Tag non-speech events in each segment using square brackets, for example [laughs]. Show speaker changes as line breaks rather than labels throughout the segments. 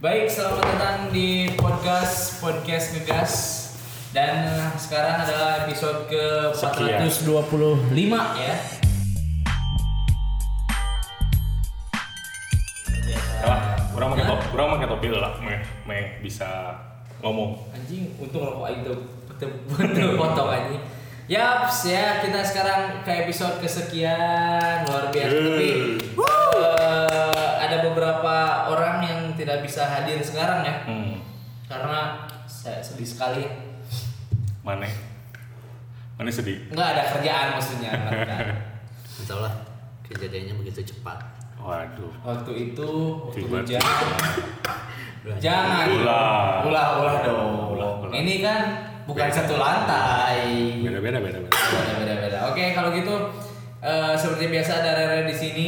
Baik, selamat datang di podcast podcast ngegas dan sekarang adalah episode ke 425 ya.
lah orang pakai top orang pakai topi lah meh meh bisa ngomong
Anjing, untung rokok itu betul potong anjing. Yaps ya, kita sekarang ke episode kesekian luar biasa
Yeay.
tapi eh, ada beberapa orang yang tidak bisa hadir sekarang ya
hmm
karena saya sedih sekali
mana mana sedih
nggak ada kerjaan maksudnya nggak
[laughs]
ada.
Entahlah lah kejadiannya begitu cepat
waduh
waktu itu waktu
Tiba-tiba.
hujan jangan
Ulah.
ulah ulah dong
Ulah, ulah.
ini kan bukan
Beda.
satu lantai
beda beda beda beda
beda beda beda oke kalau gitu eh, seperti biasa ada Rere di sini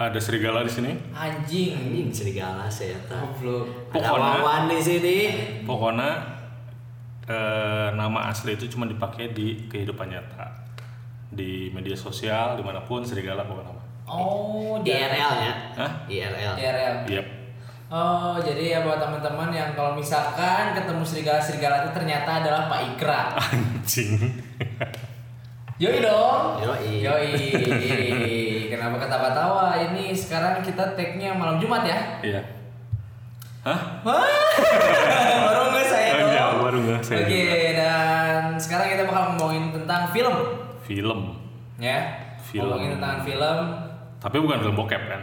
ada serigala di sini
anjing
anjing serigala saya tahu
goblok
ya, ada
Pokoknya-
wawan di sini
pokoknya eh, nama asli itu cuma dipakai di kehidupan nyata di media sosial dimanapun serigala pokoknya nama
oh jadi
IRL nya
Hah? Iya,
IRL
DRL
Yap.
Oh, jadi ya buat teman-teman yang kalau misalkan ketemu serigala-serigala itu ternyata adalah Pak Ikra.
anjing
Yoi dong.
Yoi.
Yoi. Kenapa ketawa-tawa? Ini sekarang kita tag-nya malam Jumat ya.
iya hah
Baru nggak saya
Oh,
tuh.
iya, baru nggak saya
Oke, dan sekarang kita bakal ngomongin tentang film.
film
Ya.
Film.
Ngomongin tentang film.
tapi bukan film bokep kan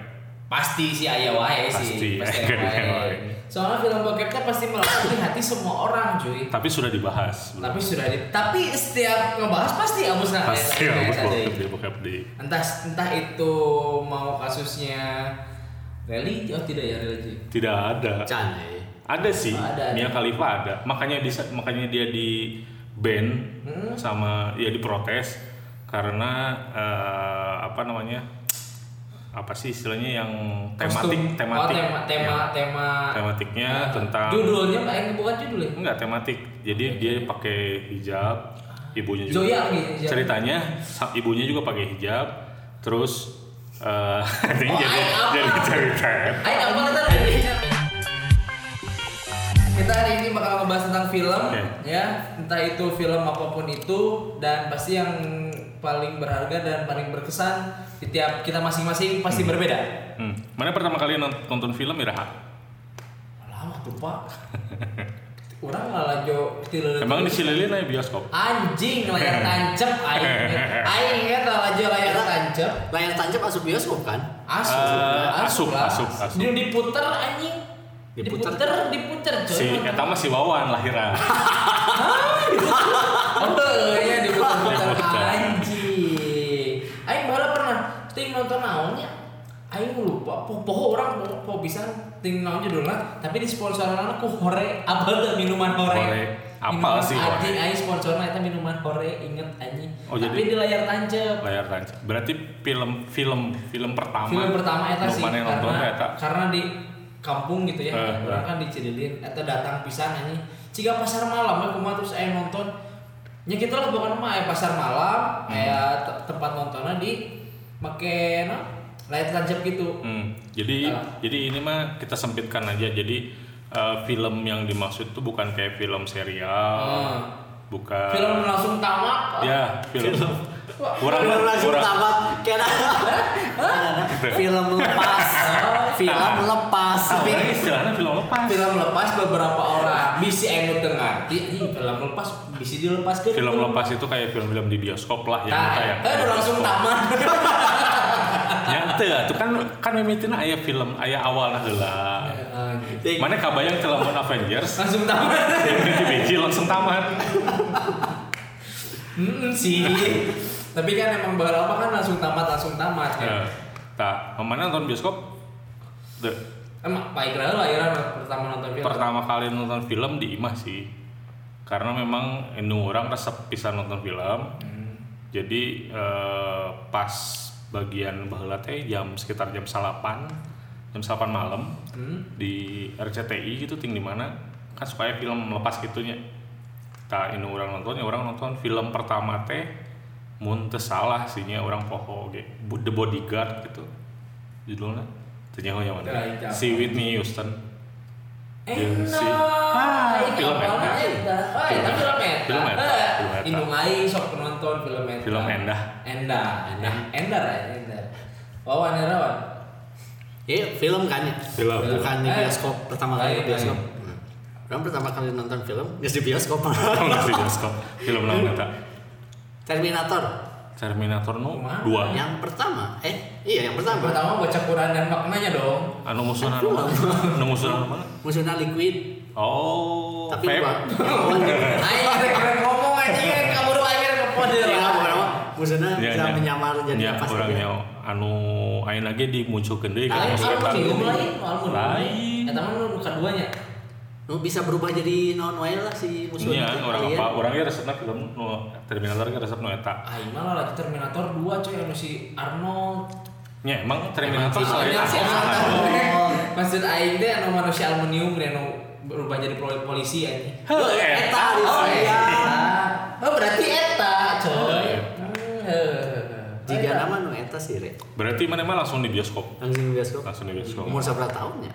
Pasti si Aya wae sih.
Pasti, [laughs]
Aya
Aya
wae.
wae.
Soalnya film bokepnya pasti melekat di hati semua orang, cuy.
tapi sudah dibahas belum?
Tapi sudah di, tapi setiap ngebahas pasti ya, Amus Nahar
pasti
yang
harus
ada.
bokep di bokep di
entah entah itu mau kasusnya religi oh tidak ya religi
tidak ada
Can eh.
ada sih
ya? Ada, ada.
Mia Khalifa ada makanya di makanya dia di ban
Hmm?
sama ya diprotes karena eh, apa namanya apa sih istilahnya yang tematik
Kostum. oh,
tematik
tema tema
Ya,
tema
tematiknya
Nah,
tentang
judulnya pak ini bukan judulnya
enggak tematik jadi dia pakai hijab ibunya juga
Zoya gitu ya.
ceritanya sa- ibunya juga pakai hijab terus eh [laughs] ini
Oh,
jadi
ay, apa?
jadi cerita
Ayo apa kata Kita hari ini bakal ngebahas tentang film
Oke.
ya, entah itu film apapun itu dan pasti yang paling berharga dan paling berkesan di tiap kita masing-masing pasti berbeda.
Hmm. Mana pertama kali nont- nonton film Iraha?
Lama tuh
[laughs]
pak. Orang malah jo tilu-
Emang di Cililin aja bioskop?
Anjing layar tancep aing. Aing eta aja layar tancep.
layar tancap asup bioskop kan
Asup,
Eh,
asup,
asup,
lah.
asup, asup.
Di- Diputer anjing.
Diputer.
Diputer, diputer. coy.
Si Eta mah si Wawan lahiran.
Oh, iya diputer-puter
Diputer.
anjing. Aing bala pernah ting nonton naonnya. Aing lupa, poho, poho orang poho, poho bisa ting naon judulna, tapi di sponsoran ku Hore, abal teu minuman Hore.
Hore. Apal
Minuman
sih Hore.
Anjing aing sponsorna eta minuman Hore, inget anjing.
Oh,
tapi
jadi-
di layar tancep.
Layar tancap. Berarti film film film pertama.
film pertama eta
nu
sih
Mana yang nonton
karena,
Eta.
karena di kampung gitu ya
Eh,
orang kan di Cirilin eta datang pisan anjing ciga pasar malam ya kumaha terus aya nonton nya kitu lah bukan mah aya pasar
Hmm.
malam aya te- tempat nontonnya di make na layar tancap gitu
Hmm. Jadi
Salah.
jadi ini mah kita sempitkan aja. Jadi eh, film yang dimaksud tuh bukan kayak film serial,
Hmm.
bukan
film langsung tamat
ya film.
Wah,
Kurang
film langsung
kurang.
tamat kena film lepas film lepas
Ah, orang istilahnya film lepas.
film lepas beberapa orang bisi anu teu ngarti anjing film lepas bisi dilepaskeun
Film lepas Iya, itu kayak film-film di bioskop lah yang
Tah,
kayak.
eh, udah langsung
[laughs]
tamat
Ya teu atuh kan kan mimitina aya film aya awalna heula.
Ting.
Mana kabayang teu lamun
Ah, gitu.
Avengers
langsung tamat
biji langsung tamat.
Mm sih. Tapi kan emang beberapa kan langsung tamat langsung tamat kan.
Eh, Tak, mana nonton bioskop? Teu.
Emang Pak Ikra lah ya pertama nonton film.
Pertama kali nonton film di Imah sih. Karena memang nu orang resep bisa nonton film. Jadi eh, pas bagian baheula teh jam sekitar jam salapan jam salapan malam
Hmm?
di RCTI gitu ting di mana kan supaya film lepas gitunya tak ini orang nontonnya orang nonton film pertama teh mun teu salah sihnya orang poho ge Bu- The Bodyguard gitu judulnya ternyata yang
Tah, itu
mana
apa?
si Whitney Houston
Eh,
Jeung si-
Enak.
Iya film
Eta
enak.
Eh, eta film eta.
Film eta,
Eh,
film eta.
Indung aing sok penonton film eta.
Film endah.
Endah. Endah. Endar ya, endar. Wawan ya, Erawan.
Iya, film kan ya?
Film.
Bukan di
Eh.
bioskop, pertama kali
Lain,
ke bioskop.
lain.
Hmm. Orang pertama kali nonton film, ya di bioskop. [laughs]
Nggak sih bioskop. Film naon eta?
Terminator.
Terminator nu
Kumaha?
dua.
Yang pertama, eh iya yang pertama.
Pertama baca Quran dan maknanya dong.
Anu musuhna anu mana? Anu musuhna anu mana?
Musuhnya Liquid,
Oh,
tapi
vape.
dua. Yang lawan-
Aing ada keren ngomong anjing kabur ya, aing ada kepode
Iya,
lah.
bukan apa. Musuhnya
Ya,
bisa
ya.
menyamar jadi
Ya,
apa
orangnya
saja.
anu ayeuna lagi dimunculkeun deui
Lain
ka setan.
aluminium lain, aluminium.
Lain.
Eta mah nu keduanya.
Nu Oh, bisa berubah jadi non wild lah si
Iya,
musuhnya. itu.
orang
Iya.
apa? Orangnya resepna film nu Terminator ge resep nu eta.
Aing mah lagi Terminator 2 coy anu si Arnold.
Ya, emang Terminator
Emang
selain
Soalnya si
Arnold,
Arnold.
Arnold.
Maksud aing teh anu manusia aluminium ge anu berubah jadi pol- polisi anjing.
Heuh,
Eta,
eta.
Oh,
saya.
eta. Oh, berarti eta, coy.
Eta.
Hmm, heuh.
Jika
Eta.
nama nu eta sih, Re.
Berarti mana mah langsung di bioskop.
Langsung di bioskop.
Langsung di bioskop.
Umur seberapa tahunnya?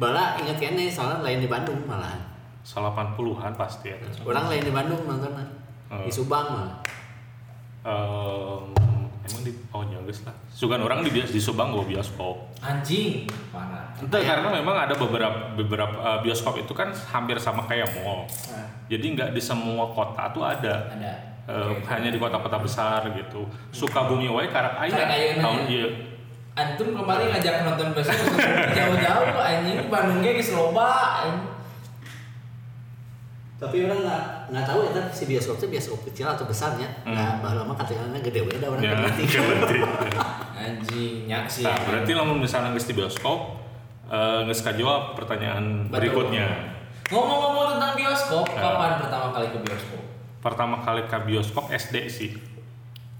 Bala inget kan nih soalnya lain di Bandung malahan.
80-an pasti ya.
Orang lain di Bandung nonton lah.
Oh.
Di Subang malah.
Em, emang di oh ya guys lah. Sugan orang di bias di Subang gua bioskop.
Anjing, parah.
Entah
Iya.
karena memang ada beberapa beberapa eh, bioskop itu kan hampir sama kayak mall.
Nah,
Jadi nggak di semua kota tuh ada.
ada.
Eh, hanya di kota-kota besar gitu. Sukabumi wae karek
Karek
aya
ayeuna.
tahun iya. ieu.
Antum kemarin ngajak nonton besok jauh-jauh anjing Bandung ge geus loba. anjing.
Tapi orang nggak nggak tahu ya tapi si bioskop itu bioskop kecil atau besarnya.
Hmm.
Nah, baru lama katanya gede we, ada orang
Ya,
berhenti.
iya, [laughs] berarti.
Anjing nyak sih.
Nah, berarti lamun misalnya geus di bioskop eh geus kajawab pertanyaan
Betul.
berikutnya.
Ngomong-ngomong tentang bioskop,
Nah.
kapan pertama kali ke bioskop?
pertama kali ke bioskop SD sih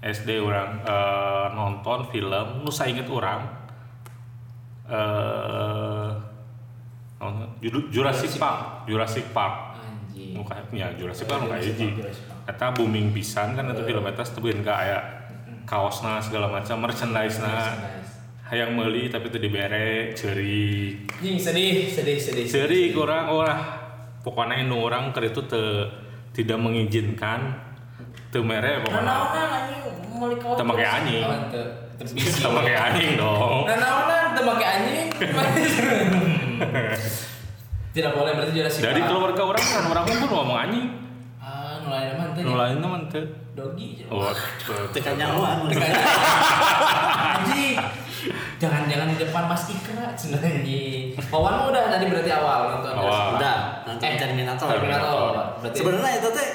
SD orang eh, nonton film nu saya inget orang eh nonton- judul Jurassic Park Jurassic Park
Anjing.
nu kayak- ya Jurassic Park nu kayak
Iya. Jurassic
hiji
Park, Jurassic Park.
eta booming pisan kan itu film eta tebuin ka aya kaosna segala macam merchandise na
Nice.
hayang meuli tapi itu dibere ceri
Anjing sedih, sedih, sedih.
Jadi orang orang pokoknya nu orang keur itu te, tidak mengizinkan teu mere pokoknya
Nanaonan anjing meuli kaos.
Teu make anjing.
Oh,
[laughs]
teu teu bisi.
sama kayak anjing dong.
Nanaonan teu make
[laughs]
anjing. Tidak boleh berarti Jurassic
Dari
Park.
keluarga orang kan orang pun ngomong anjing.
Ah, nulain mah teh.
Nu lain teman teu.
Dogi. ya. jeung.
Oh,
Tekan
[laughs]
nyawa.
[laughs] Anjing. Jangan-jangan di depan Mas Ikra cenah anjing. Wawan mah udah tadi berarti awal nonton.
Awal.
Jurassic Park.
Udah, nonton
Eh,
Terminator.
Terminator. Berarti
Sebenarnya itu teh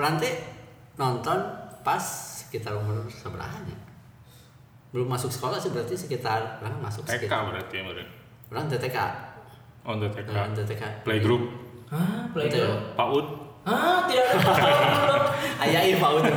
orang teh nonton pas sekitar umur sebelahan ya. Belum masuk sekolah sih berarti sekitar orang masuk
TK
sekitar.
berarti ya berarti.
Orang teh TK.
Oh, untuk
Orang
TK.
teh Iya, TK.
Playgroup.
Hah,
Betul.
pelajaran.
Paud.
Ah, tidak ada.
Ayah iya Pak Udo.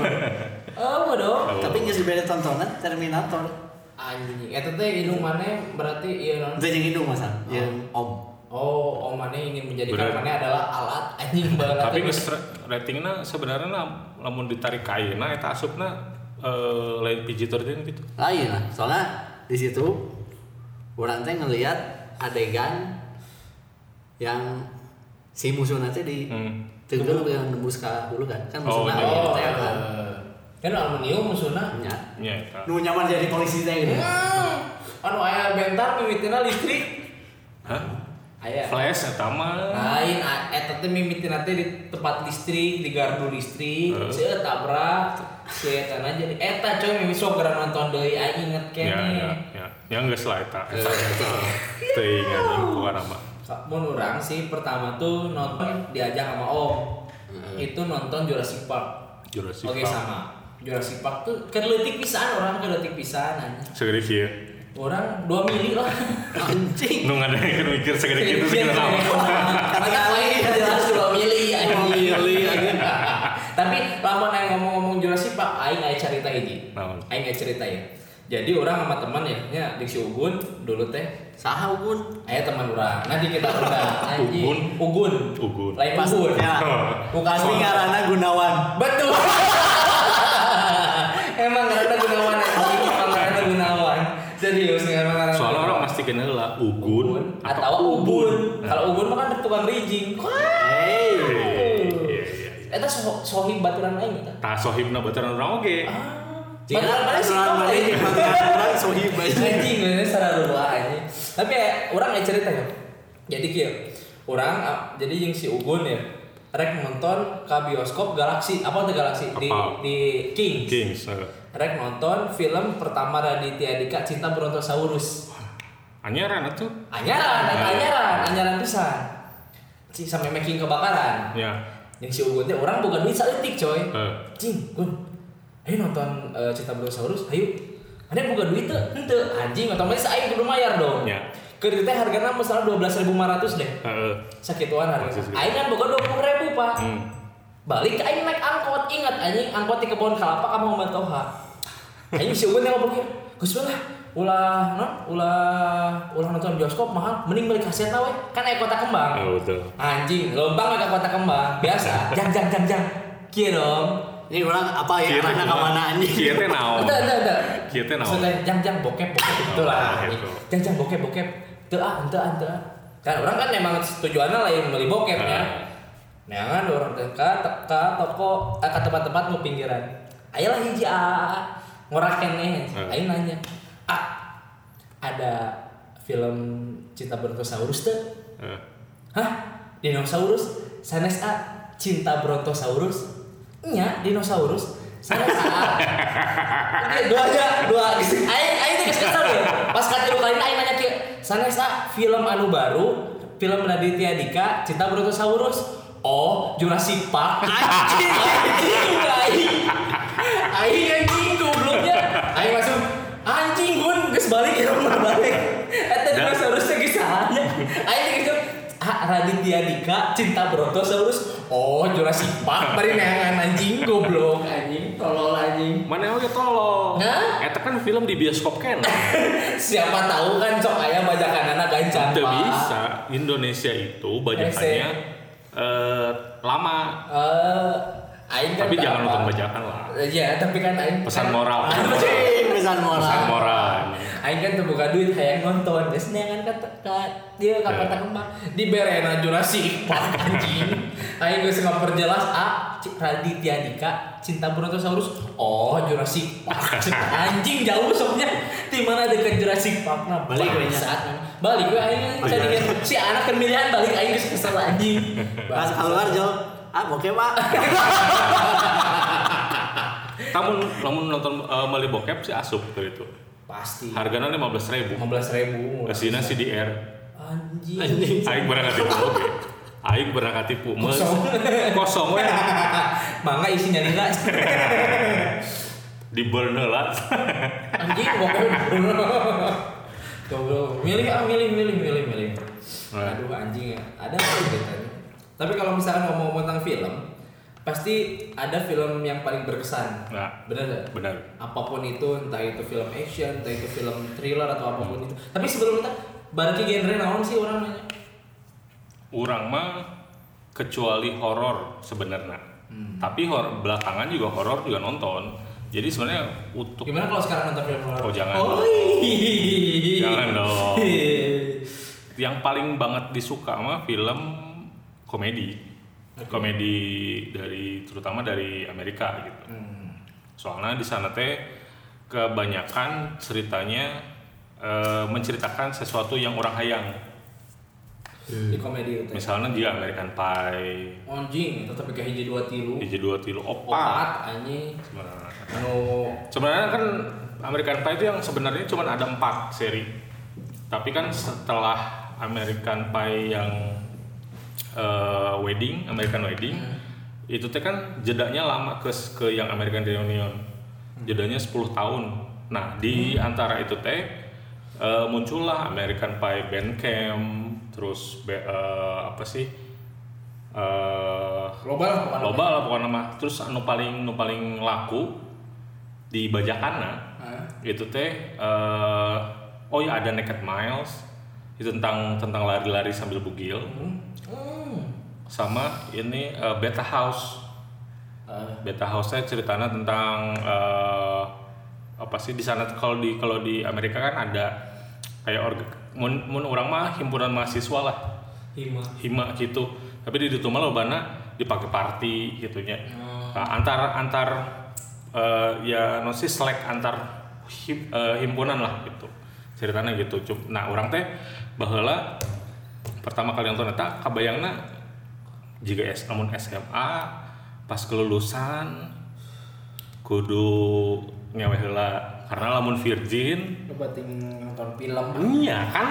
Oh, bodoh.
Tapi geus dibere tontonan Terminator.
Anjing, Eh, eta teh indung maneh berarti ieu naon?
Itu yang hidung masa, yang om.
Oh, om maneh ingin menjadikan
Berat.
maneh adalah alat anjing banget.
Tapi geus ra- ratingna sebenarnya lam- lamun ditarik ka ayeuna eta asupna eh, lain PG-13 gitu.
Lain lah, soalnya di situ orang teh ngelihat adegan yang si musuh nanti di
Hmm.
Tegal yang nembus ke hulu kan, kan
Oh,
musuhnya
iya.
oh,
oh,
teh kan.
kan aluminium musuhna.
Ya.
Nya eta.
Nu nyaman jadi polisi teh gitu.
Hmm. Anu aya bentar mimitina listrik.
Hah?
Aya.
Flash eta mah.
Lain a- eta teh mimitina teh di tempat listrik, di gardu listrik,
Heeh.
seueur tabrak. Si eta na jadi eta coy mimi sok gara nonton deui aing inget
Ya,
keneh.
ya, ya. Ya enggak lah eta.
Eh, betul.
Teuing anjing ku mah.
Mun orang sih pertama tuh nonton diajak sama Om. Itu nonton Jurassic Park.
Jurassic
Oke
Park.
sama. Jurassic Park tuh keleutik pisan orang keleutik pisan anjing.
Segede kieu.
Orang 2 mili [laughs] lah.
Anjing.
Nu ngadengkeun mikir segede
[laughs]
kieu
Iya,
segede naon.
Mata lain kan jelas 2 mili anjing. [laughs] Tapi lamun aing ngomong-ngomong Jurassic Park aing aya cerita hiji.
Naon?
Aing aya cerita ya. Jadi orang sama teman ya, nya di si Ugun dulu teh
Saha pun.
Ayah Eh, teman orang, nanti kita undang anjing.
[laughs] Ugun.
Ugun.
Ugun.
Lain
Pas
[laughs]
Ugun.
[laughs] ya. Pasti ngaranna Gunawan.
Betul. Emang karena Gunawan anjing, emang karena Gunawan. Serius emang karena
Soalnya orang pasti pastikeun heula ugun
iya. atau ubun. Kalau ubun mah kan tukang rijing. Wah.
Hey.
Iya, iya.
Eta so sohib baturan aing eta.
Tah sohibna baturan urang oge.
Jika
Baturan mana sih?
orang
Kau
mana
anjing.
orang sohib aja.
Anjing, ini secara lupa anjing. Tapi ya, orang nggak cerita ya. Jadi kia, orang ah, jadi yang si Ugun ya rek nonton ke bioskop Galaxy apa tuh Galaxy di
Apa?
di King.
Kings. eh.
Rek nonton film pertama Raditya Dika Cinta Brontosaurus.
Anyaran atuh.
Anyaran, eta anyaran, anyaran pisan. Cing sampai making kebakaran.
Ya.
Yang si Ugun teh orang bukan duit saletik coy.
Eh.
Cing, Gun. Ayo nonton eh, Cinta Brontosaurus, ayo. Ada bukan duit tuh, ente anjing otomatis aing kudu mayar dong.
Ya.
Kreditnya harganya misalnya 12.500 deh.
Heeh.
Sakituan harga.
Masih segitu.
Aing kan bukan 20.000, Pak.
eh. Hmm.
Balik aing naik angkot, ingat anjing angkot di kebun kelapa kamu Toha. Aing si Ugun yang ngomong gini, "Gus ulah ulah non ulah ulah nonton bioskop mahal, mending beli kasetna we. Kan aya kota kembang.
Oh, betul.
Anjing, lombang ke kota kembang, biasa. Jang jang jang jang. Kieu dong.
Ini orang apa ya?
Kieu teh
Arahnya
kumaha?
kemana anjing?
Kieu teh naon?
Udah, udah, udah.
Kieu teh naon?
Maksudnya jang jang bokep
[laughs]
bokep itu lah.
Oh, gitu.
Jang jang bokep bokep. Teu ah, teu ah, teu ah. Kan orang kan memang tujuannya lain beli bokep ya.
Ah.
Nah, kan orang dekat ke toko eh, ke tempat-tempat nu pinggiran. Ayolah hiji ah ngorah keneh.
Ah.
Ayo nanya. Ah, ada film Cinta Brontosaurus teu?
Eh.
Hah? Dinosaurus? Sanes A? Cinta Brontosaurus? Nya, dinosaurus? Sanes A?
[laughs]
Oke, dua aja, dua. Aing aing teh geus kesel ya. Pas katilu kali aing nanya kieu, sanes A film anu baru, film Raditya Dika, Cinta Brontosaurus. Oh, Jurassic Park. Anjing, anjing, aing. Aing anjing gobloknya. Aing langsung anjing gun geus balik ya rumah balik. Eta
Dan-
dinosaurusnya geus sanes. Aing teh gitu. Ah, Raditya Dika, Cinta Brontosaurus. Oh, Jurassic Park bari neangan anjing goblok anjing, tolol anjing.
Eh, Mana oge tolong.
Hah?
Eta kan film di bioskop kan.
Siapa tahu kan sok ayam bajakan anak gancang
Tidak
Pak.
bisa. Indonesia itu bajakannya eh, lama.
Eh, aing kan
Tapi
tak
jangan
apa.
nonton bajakan lah.
Iya, tapi kan aing kan-
Pesan
Ah,
moral.
[laughs]
Anjing, pesan
Pesan
moral.
moral.
Aing kan tuh buka duit hayang nonton. Geus neangan ka ka dia ka
Ya.
kota kembang di berena Jurassic Park anjing. Aing geus ngaperjelas A C- Raditya Dika Cinta Brontosaurus. Oh, Jurassic Park. Anjing jauh soknya. Di mana dekat Jurassic Park nah
Balik
balik
we nya.
saat balik gue aing
Balik.
tadi si anak pemilihan balik aing geus kesel anjing.
Pas keluar Jo, ah oke pak.
Namun, namun nonton eh, Mali Bokep sih asup tuh itu.
Pasti.
Harganya lima belas ribu.
15 ribu.
Kesina CDR.
Anjing.
Aing berangkat tipu oge. Aing berangkat tipu. Mes-
Kosong.
Kosong
[laughs]
we.
Mangga isinya lila.
Di burn heula.
Anjing goblok. Goblok. Milih ah milih milih milih milih.
Nah.
Aduh anjing ya. Ada apa gitu. Tapi kalau misalkan ngomong tentang film, pasti ada film yang paling berkesan.
Nah,
Bener gak?
benar.
Apapun itu, entah itu film action, entah itu film thriller atau
Hmm.
apapun itu. Tapi sebelum itu, barangkali genre naon sih orang nanya?
Urang mah kecuali horor sebenarnya. Tapi horor belakangan juga horor juga nonton. Jadi sebenarnya untuk
Gimana kalau sekarang nonton film horor?
Oh, jangan.
Oh, iya. ih.
Jangan dong.
Ih.
yang paling banget disuka mah film komedi. Komedi dari terutama dari Amerika gitu.
Hmm.
Soalnya di sana teh kebanyakan ceritanya eh, menceritakan sesuatu yang orang hayang. Hmm.
Di komedi itu.
Misalnya dia American Pie,
Anjing, tetap ke hiji dua tilu.
Hiji Dua Tilu Nah, Opa.
Opat anjing.
Sebenarnya.
Anu
Sebenarnya kan American Pie itu yang sebenarnya cuma ada empat seri. Tapi kan setelah American Pie yang eh, wedding, American Wedding, itu teh kan jedanya lama ke ke yang American Reunion. Jedanya 10 tahun. Nah, di antara itu teh eh, muncullah American Pie Bandcamp, terus be- eh, apa sih? eh
loba lah pokoknya.
loba lah pokoknya mah terus anu paling anu paling laku di bajakanna
Hah?
itu teh eh, oh ya ada naked miles itu tentang tentang lari-lari sambil bugil
Hmm.
sama ini eh, beta house
Eh,
beta house nya ceritanya tentang eh, apa sih di sana kalau di kalau di Amerika kan ada kayak org- mun, mun orang mah himpunan mahasiswa lah
Hima.
hima gitu tapi di itu mah lobana dipakai party gitunya
Hmm.
Nah, antar antar eh, ya non sih selek antar him- eh, himpunan lah gitu ceritanya gitu Cum- nah orang teh baheula pertama kali nonton eta kabayangna jika S, namun SMA pas kelulusan kudu ngewe heula karena lamun virgin
Coba ting nonton film.
Iya kan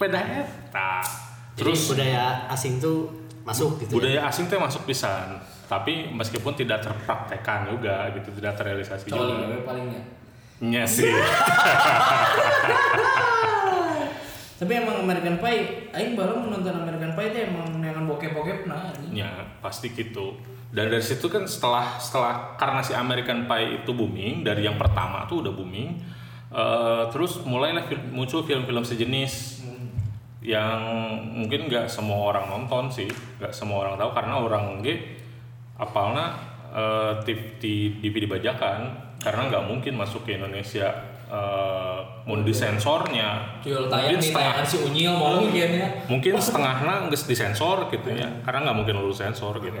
peda eta.
Terus
Terus
budaya asing tuh masuk gitu. ya.
budaya asing teh masuk pisan. Tapi meskipun tidak terpraktekan juga gitu, tidak terrealisasi
Cowok
juga.
cewek palingnya.
Nya sih.
Tapi emang American Pie, aing baru menonton American Pie itu emang dengan bokep-bokep nah. anjing.
Ya, pasti gitu. Dan dari situ kan setelah setelah karena si American Pie itu booming dari yang pertama tuh udah booming, eh, terus mulailah fil- muncul film-film sejenis yang mungkin nggak semua orang nonton sih, nggak semua orang tahu karena orang nge apalnya eh, tip di DVD bajakan karena nggak mungkin masuk ke Indonesia eh mau disensornya
Tuyul tayang nih tayangan si Unyil mau mungkin ya.
mungkin setengahnya nggak disensor gitu ya karena nggak mungkin lulus sensor gitu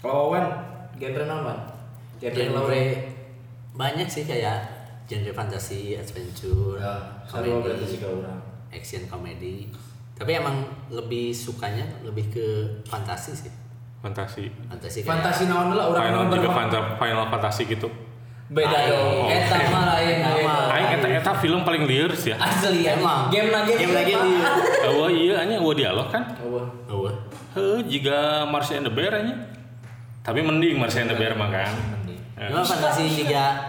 Kalau Wan, genre naon, Wan? Genre
genre
lore.
banyak sih kayak genre fantasi, adventure,
Kalau berarti
comedy,
sih kau orang.
action comedy. Tapi emang lebih sukanya lebih ke fantasi sih.
fantasi
Fantasi kan kayak
Fantasi naon lah orang
final
naon
juga
bermak-
fanta- final fantasi gitu
Beda yo.
Oh,
Eta
oke.
mah lain
Eta
eta.
mah.
aing eta eta film paling liar sih
[laughs]
ya
Asli ya.
Emang.
Game lagi.
Game lagi
Pak.
liar.
eueuh iya anya eueuh dialog kan
Eueuh.
Oh,
heuh jiga Marcia and the Bear anya tapi mending Marcia and the Bear mah kan Eh,
Cuma fantasi juga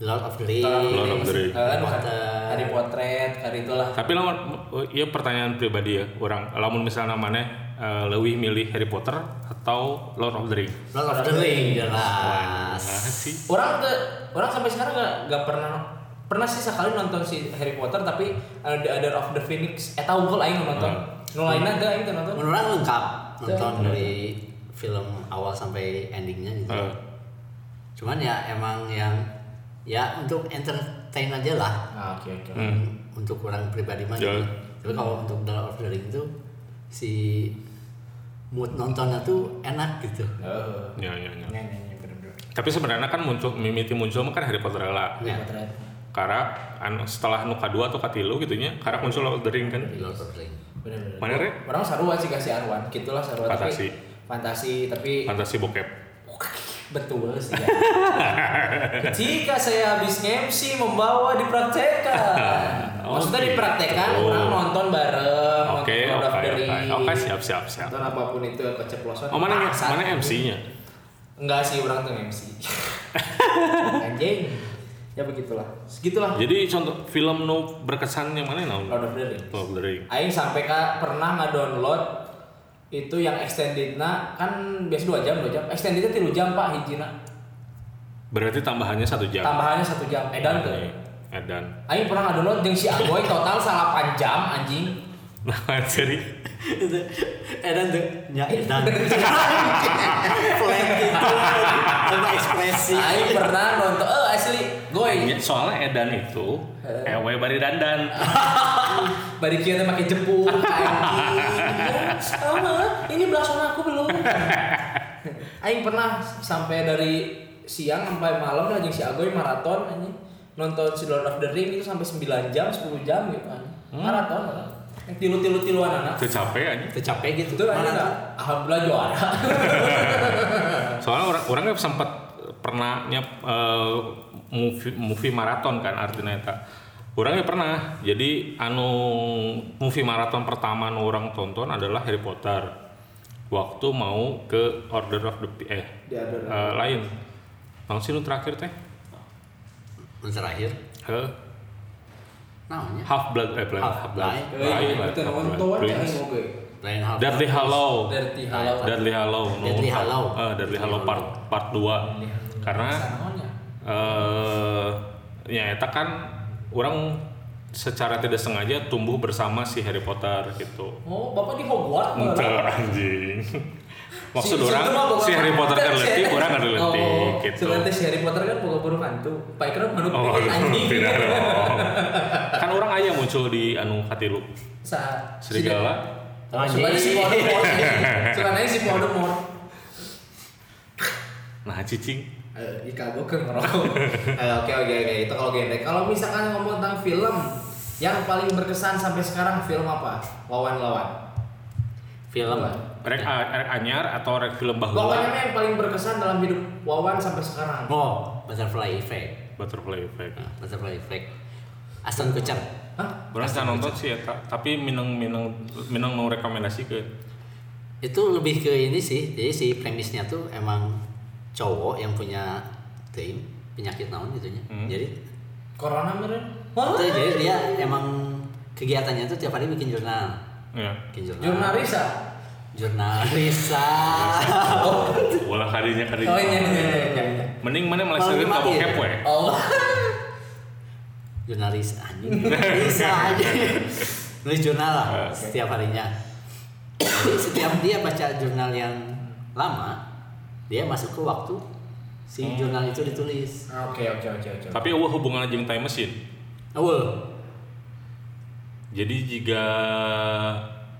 Lord of the Rings,
Lord of the Rings.
Eh,
Harry Potter.
Hari potret, hari itulah.
tapi lamun iya pertanyaan pribadi ya orang lamun misalnya mana eh, leuwih milih Harry Potter atau Lord of the Ring
Lord of the Rings
Nah,
jelas.
sih
Orang ke orang sampai sekarang nggak nggak pernah pernah sih sekali nonton si Harry Potter tapi uh, The Order of the Phoenix Eh, eta unggul aing nu nonton. Nu lainna teu aing teu nonton.
Menurut orang lengkap nonton dari film awal sampai endingnya gitu.
Eh,
Cuman ya emang yang ya untuk entertain aja lah.
Ah, oke oke.
Hmm.
Untuk orang pribadi mah.
Ya.
gitu. Tapi kalau untuk The Lord of the Ring tuh si mood nontonnya tuh enak gitu.
Heeh.
ya, ya, ya.
Nya nya nya bener-bener.
tapi sebenarnya kan muncul mimiti muncul mah kan Harry Potter lah
Hari
Ya,
potret.
karak anu, setelah nuka dua atau katilu gitu nya karak muncul Lord of the Ring kan
di Lord of the Ring.
Bener-bener.
mana re
Orang sarua sih kasih Arwan, gitulah sarua
Fantasi.
tapi fantasi tapi
fantasi bokep
Betul sih. [laughs] Jika saya habis MC membawa dipraktekkan.
[laughs] Oh,
Maksudnya
gitu.
dipraktekkan orang nonton bareng,
oke
nonton Lord of
oke
the
oke
Ring,
oke siap siap siap
Nonton apapun itu keceplosan.
oh mana
Pasar.
mana MC nya
Enggak sih orang tuh
[laughs]
MC. Anjing. Ya begitulah. Segitulah.
jadi contoh film nu berkesan yang mana naon
Lord of the Ring.
Lord of the Ring
Aing sampai ka pernah ngedownload itu yang extendedna kan biasa dua jam dua jam extendednya tiga jam pak hijina
berarti tambahannya satu jam
tambahannya satu jam edan tuh
Iya, edan [laughs]
Aing pernah ngedownload jeung si Agoy total salah 8 jam anjing.
nah jadi
Edan tuh ya Edan. Flank gitu. Sama ekspresi.
Aing pernah nonton eh asli goy.
ya, soalnya edan itu
Eh.
ewe bari dandan
Bari kieu teh make jepuk anjing. Sama, ini belasan aku belum. [laughs] Aing pernah sampai dari siang sampai malam lah jeung si Agoy maraton anjing. Nonton si Lord of the Ring itu sampai 9 jam, 10 jam gitu anjing. Maraton. lah. Yang tilu-tilu-tiluan anak.
kecapean
Tuh capek gitu.
Itu aja
Mana
enggak?
tuh?
Alhamdulillah juara.
soalnya orang orang nggak sempat pernah nyap eh, movie movie maraton kan artinya eta orangnya pernah jadi anu movie maraton pertama nu orang tonton adalah Harry Potter waktu mau ke Order of the P- eh
Di Order of the-
eh, lain Naon sih nu terakhir teh
Yang terakhir.
Heh,
Namanya.
Half Blood eh Blood
Half
Half Blood
Blood.
Lain lah,
Itu
Half Blood
nonton aja
Prince.
oke.
Lain hal.
Deathly Hallow
Dirty Hallow.
Deadly Hallow nu-
Deathly Hallow.
Eh, Deathly Hallow part part 2 karena
Sanonya.
eh ya eta kan orang secara tidak sengaja tumbuh bersama si Harry Potter gitu.
Oh, bapak di Hogwarts malah.
Enter anjing.
Si-
Maksud
si
orang
itu mah bukan
si Harry Potter kan
si- [laughs]
letih, orang kan letih
Oh,
gitu.
sebenarnya si Harry Potter kan bukan burung hantu. Pak Ikram manuk
Oh,
putih, anjing.
[laughs] tidak dong. Kan orang aja muncul di anu katilu.
Sa-
Serigala.
Sebenarnya si
[laughs]
Voldemort. Sebenarnya si Voldemort.
Nah, cicing.
Eh, Ika gue kan ngerokok. Eh, Oke oke oke itu kalau genre. Kalau misalkan ngomong tentang film yang paling berkesan sampai sekarang film apa? Wawan lawan.
Film.
Rek, rek anyar atau rek film bahula
Pokoknya yang paling berkesan dalam hidup Wawan sampai sekarang.
Oh, Butterfly Effect.
Butterfly Effect.
Nah, Butterfly Effect. Aston Kutcher.
Hah?
Orang sudah nonton sih eta, tapi minang minang minang mau rekomendasi ke
Itu lebih ke ini sih. Jadi si premisnya tuh emang cowok yang punya tim penyakit naon gitunya.
Hmm.
Jadi
Corona meren?
itu jadi dia emang kegiatannya tuh tiap hari bikin jurnal.
ya.
Bikin jurnal.
Jurnalisa.
Jurnal Risa. ah.
[laughs] Ulah kadinya kadinya.
Oh iya iya iya, iya. iya.
Mending mana melesakeun
Malah
ka
mati. ya?
bokep we.
Oh.
jurnal Risa anjing. Jurnal Risa anjing. Nulis jurnal lah
Eh.
setiap harinya. Jadi setiap dia baca jurnal yang lama, dia masuk ke waktu si jurnal itu ditulis.
Oke oke oke oke.
Tapi eueuh hubungan jeung time machine.
Awal.
Jadi jika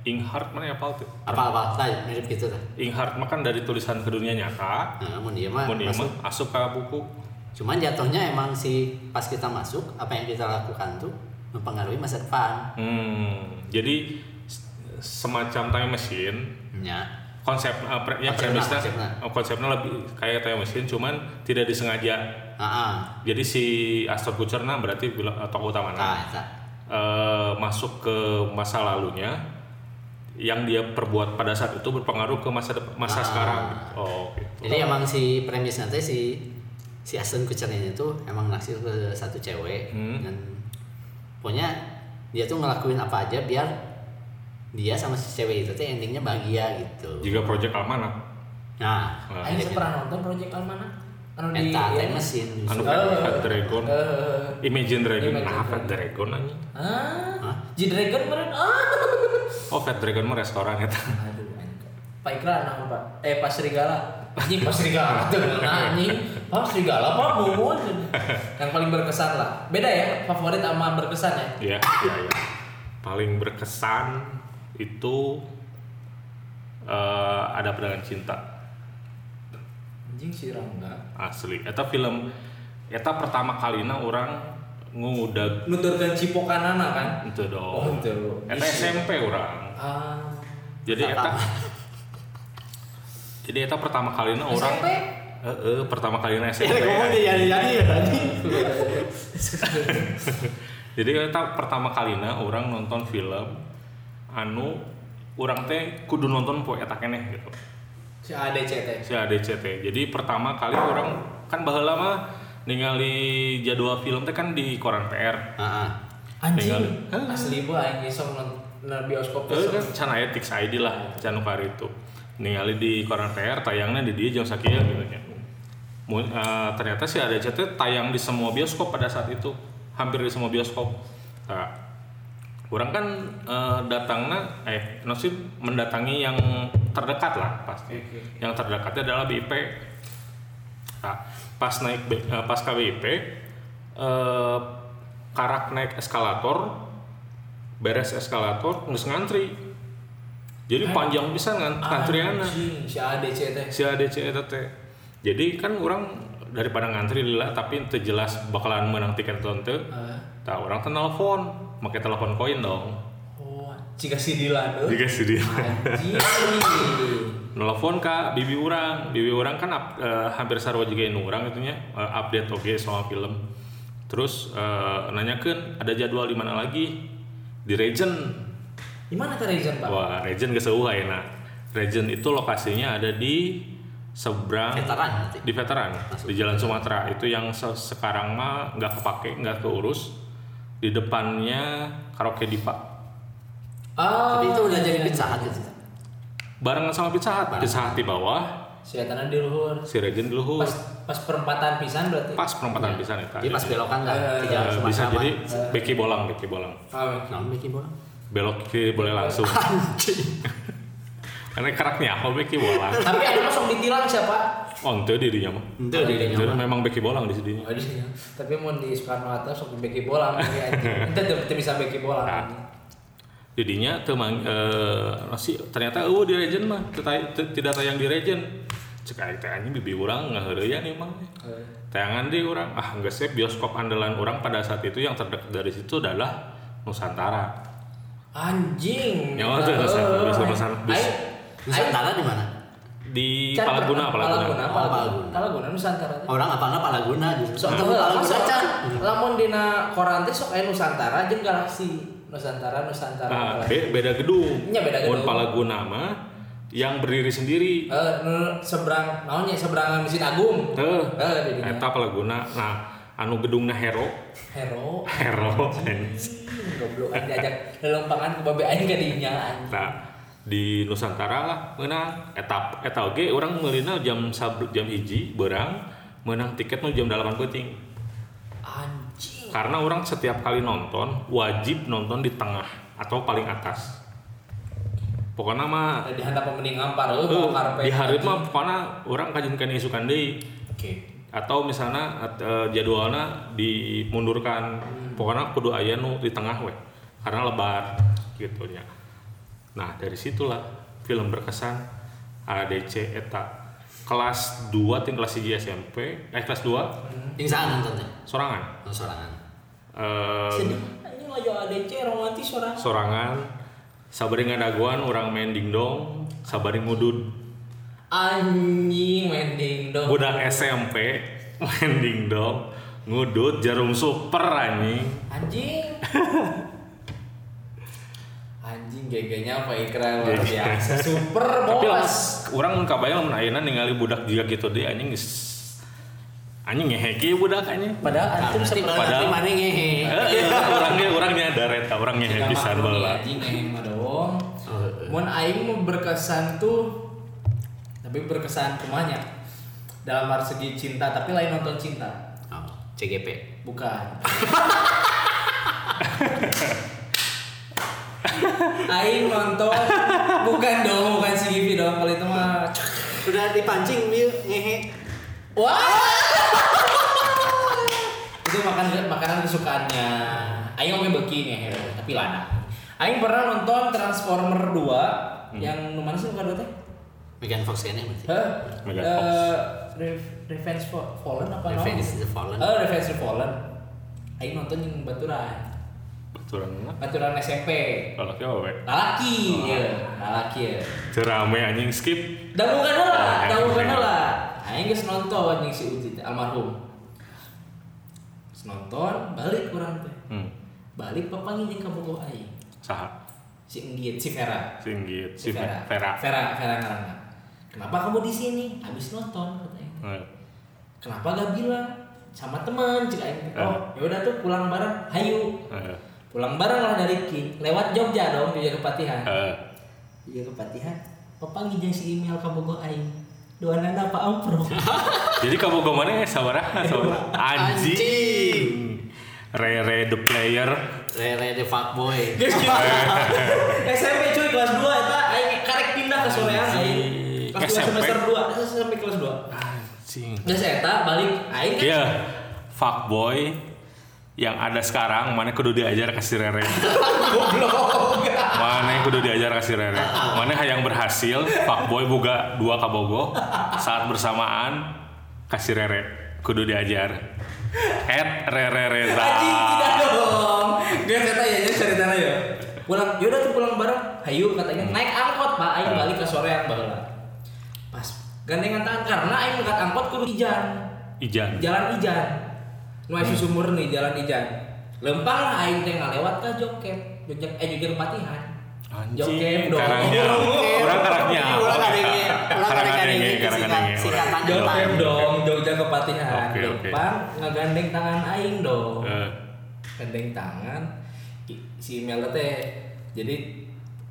Inghardt mana ya pal tuh?
Apa-apa, tadi mirip gitu dah.
Inghardt mah kan dari tulisan ke dunia nyata.
Nah, namun dia mah
Mun ieu
masuk.
mah asup ka buku.
Cuman jatuhnya emang si pas kita masuk, apa yang kita lakukan tuh mempengaruhi masa depan.
Hmm, jadi s- semacam time machine
Ya.
konsep eh, pre- ya
Konsepnya,
premisnya
konsepnya.
eh, konsepnya lebih kayak time machine cuman tidak disengaja
Heeh.
jadi si Astor Kutcher nah berarti bila- eh, tokoh utama nah,
Tah eta.
eh, masuk ke masa lalunya yang dia perbuat pada saat itu berpengaruh ke masa dep- masa
Ah.
sekarang oh gitu
Jadi emang si premis nanti si si Aston Kutcher ini tuh emang naksir ke satu cewek
Hmm.
dan pokoknya dia tuh ngelakuin apa aja biar dia sama si cewek itu tuh endingnya bahagia gitu.
jika project almanak
Nah,
Nah.
Aing
gitu.
pernah nonton Project Almanac. Anu di
Eta
iya.
teh mesin.
anu
Eh.
Red dragon
Eh.
imagine dragon
Imagine
nah
Dragon.
Fat dragon anjing
Ah,
Hah?
G-Dragon meren. Ah. [laughs]
oh Fat dragon mah restoran ya. [laughs] eta
Aduh, anjing. Pak Ikra anak Pak. Eh, Pak Serigala. Anjing Pak Serigala tuh nah, anjing. Pak Serigala Pak Mumun. Yang paling berkesan lah. Beda ya favorit sama berkesan ya.
ya ya ya paling berkesan itu eh, ada pedangan cinta
Anjing si Rangga.
asli eta film eta pertama kalina orang ngudag
Nuturkan cipokanana kan.
itu dong
Oh, itu.
Eta SMP orang
Ah, [laughs]
jadi eta jadi eta pertama kalina orang
SMP?
Eh, eh, pertama kalina
Ya,
SMP
ngomong dia jadi ya tadi.
jadi eta pertama kalina orang nonton film anu orang teh kudu nonton poe eta keneh gitu
si ADCT.
si ADC teh. Jadi pertama kali orang kan baheula mah ningali jadwal film teh kan di koran PR.
Heeh.
Anjing. Asli bu anjing sok nonton bioskop
Eh
besok.
kan can aya tix ID lah canu kari itu. Ningali di koran PR tayangnya di dia jam sakieu gitu nya. Mun- eh, ternyata si ADC teh tayang di semua bioskop pada saat itu, hampir di semua bioskop. Nah, orang kan eh, datangnya eh nasib mendatangi yang terdekat lah pasti. Yang terdekatnya adalah BIP. Nah, pas naik B- eh, pas KBIP eh, karak naik eskalator beres eskalator nggak ngantri jadi panjang pisan kan
Ah.
ngantrianna
Anjing, Si ADCT.
si ADC eta teh E, jadi kan orang daripada ngantri lila tapi teu jelas bakalan menang tiket atau teu
Ah.
tah orang teh nelfon make telepon koin dong
Oh, jika si Dilan. eh.
jika si dia
Anjing.
nelfon ka bibi urang bibi urang kan up- eh, hampir sarwa juga yang urang itunya eh, update oke soal film terus eh, nanyakeun ada jadwal di mana lagi di Regent
Di mana tadi Jan, Pak?
wah Regent keseuh ayeuna Regent itu lokasinya ada di seberang
Veteran nanti.
di veteran di Jalan Sumatera itu yang se- sekarang mah nggak kepake nggak keurus di depannya karaoke dipa
Ah,
Tapi itu udah jadi pizza Hut gitu.
barengan sama pizza hut pizza hut di bawah
Setanana Ah. di luhur.
si Regen di
Oh.
luhur
Pas pas perempatan pisan berarti.
pas perempatan pisan ya, eta
Jadi Iya, pas
Jadi,
belokan lah,
Eh,
tiga
eh,
sama
bisa
sama.
jadi beki bolang beki bolang
Ah,
Nah, bikin bola.
belok kiri boleh langsung [laughs] karena keraknya apa beki bolang
ya? Tapi ada masuk ditilang siapa?
oh ente dirinya mah
Itu dirinya
Jadi
mah.
memang beki bolang di sini
Oh, di sini. Tapi mau di Soekarno Hatta sok beki bola mungkin
[laughs]
anjing. Ente teu- teu bisa beki
Ah.
bola. anjing.
jadinya teman eh nasi ternyata oh di Regen mah teu tay- teu- tidak tayang di Regen cek aing teh anjing bibi urang ngaheureuyaan nih mah
Eh,
tayangan di orang ah enggak sih bioskop andalan orang pada saat itu yang terdekat dari situ adalah Nusantara
Anjing. Eh,
Ya, oh, terus, terus, terus, terus.
Aing- Aing-
Nusantara di mana?
di
Can,
Palaguna Palaguna
Palaguna,
Oh,
Palaguna.
Palaguna.
Palaguna Nusantara. teh.
Orang apa Palaguna gitu.
Sok
Itu
teu heula,
Palaguna
sok-
Can.
Lamun dina koran teh sok aya Nusantara jeung Galaksi. Nusantara Nusantara.
nah,
Galaksi.
be- beda gedung
Nya Ah, Iya, beda gedung.
Mun Palaguna mah yang berdiri sendiri
Eh, nu- seberang naonnya seberang Masjid Agung.
Teh.
Eh, di dinya.
eta Palaguna nah anu gedungna Hero [laughs]
Hero.
Hero
Ih, Goblok aing diajak lelompangan ke babe aing ka dinya anjing.
Nah, di Nusantara lah menang etap eta oge orang melina jam sab, jam hiji berang menang tiket nu jam dalapan penting
Anjing.
karena orang setiap kali nonton wajib nonton di tengah atau paling atas pokoknya mah
Di handap pemending ngampar eueuh
eh,
bawa karpet.
di hari
anjing.
mah pokoknya orang kajin kan isukan deui
Oke.
atau misalnya at- eh, jadwalnya dimundurkan pokoknya kudu aya nu di tengah we karena lebar gitu nya nah dari situlah film berkesan ADC eta kelas 2 tim kelas 1 SMP eh kelas 2
Pingsan nontonnya.
sorangan
Oh, sorangan.
Eh,
Sedih. Anjing lajo ADC romantis orang.
sorangan sabari ngadaguan orang main dingdong sabari ngudud
Anjing mending dong.
budak SMP [laughs] main dingdong ngudud jarum super anjing
Anjing. Anjing GG-nya apa ikra luar biasa. Super
Tapi lah,
bolas.
orang kabayang lamun ayeuna ningali budak jiga gitu deh anjing geus anjing ngeheki budak anjing.
Padahal Ya, antum
Nanti
sebenarnya
padahal-
nanti mana ngehe.
Eh, orang ge urang nyadar eta urang
tidak
ngehe pisan
maklumi,
baheula.
Anjing eh mah dong.
Oh, eh.
Mun aing mah berkesan tuh tapi berkesan kumanya. Dalam hal segi cinta tapi lain nonton cinta.
Oh, CGP.
Bukan. Aing nonton bukan dong, bukan si Givi dong kalau itu mah.
Udah dipancing dia ngehe.
Wah. [laughs] itu makan makanan kesukaannya. Aing ngomongin beki nih, Hero, tapi lana. Aing pernah nonton Transformer 2 yang nu mana sih bukan dua teh?
Megan Fox ini berarti.
Hah?
Megan
Eh,
Fox.
Re- Revenge Fo- Fallen apa namanya?
Revenge is the Fallen.
Oh, Revenge is the Fallen. Aing nonton yang baturan.
Baturan mah.
Baturan SMP.
Kalau ke awe.
Lalaki, ya. Lalaki ya.
Teu rame anjing skip.
Dangukan lah,
Oh,
dangukan
iya.
lah. Aing geus Nah, nonton yang si Uti teh, almarhum. Geus nonton, balik kurang teh.
Hmm.
Balik papangi jeung ka bogoh aing.
Saha?
Si Enggit, si Vera.
Singgit si Fe- Vera.
Vera, Vera ngaranna. Kenapa kamu di sini? Habis nonton kata aing.
Eh,
Kenapa gak bilang? Sama teman cik aing. teh.
Eh.
Oh, ya udah tuh pulang bareng. Hayu.
eh,
Pulang bareng lah dari Ki. Lewat Jogja dong, Jogja Kepatihan.
eh.
Iya ke Patihan. Papangi jeung si email ka bogo aing. Doanan apa amprok.
Jadi kamu gimana ya sabaraha sabaraha? Anjing. Rere the player.
Rere the [laughs] fuckboy.
Guys, gitu. Eh, SMP cuy kelas 2 eta aing karek pindah ke Soreang aing. Kelas dua,
SMP?
semester 2, SMP kelas 2.
Anjing.
Geus eta balik aing kan.
Iya, fuckboy yang ada sekarang mana kudu diajar kasih rere.
Goblok.
Mana yang kudu diajar kasih rere. Mana yang berhasil fuckboy boga dua kabogo saat bersamaan kasih rere kudu diajar. At rere reza.
Anjing tidak dong. Guys eta ya nya ceritana ya. Pulang, yaudah tuh pulang bareng. Hayu katanya naik angkot Pak, aing balik ke Soreang baheula. Pas gandengan tangan karena aing ngangkat angkot kudu ijan.
Ijan.
jalan ijan nu aya sumur nih jalan ijan lempang lah aing teh ngalewat ka joket jogja eh jogja kepatihan joket
Anjing,
dong
karangnya. Orang karangnya.
Orang kadenge,
Karang
orang kadenge,
kadenge,
singkat-
orang.
singkatan
joket
Jogep.
dong jogja kepatihan
Oke, oke.
lempang ngegandeng tangan aing dong
Eh,
gandeng tangan i- si Mel teh jadi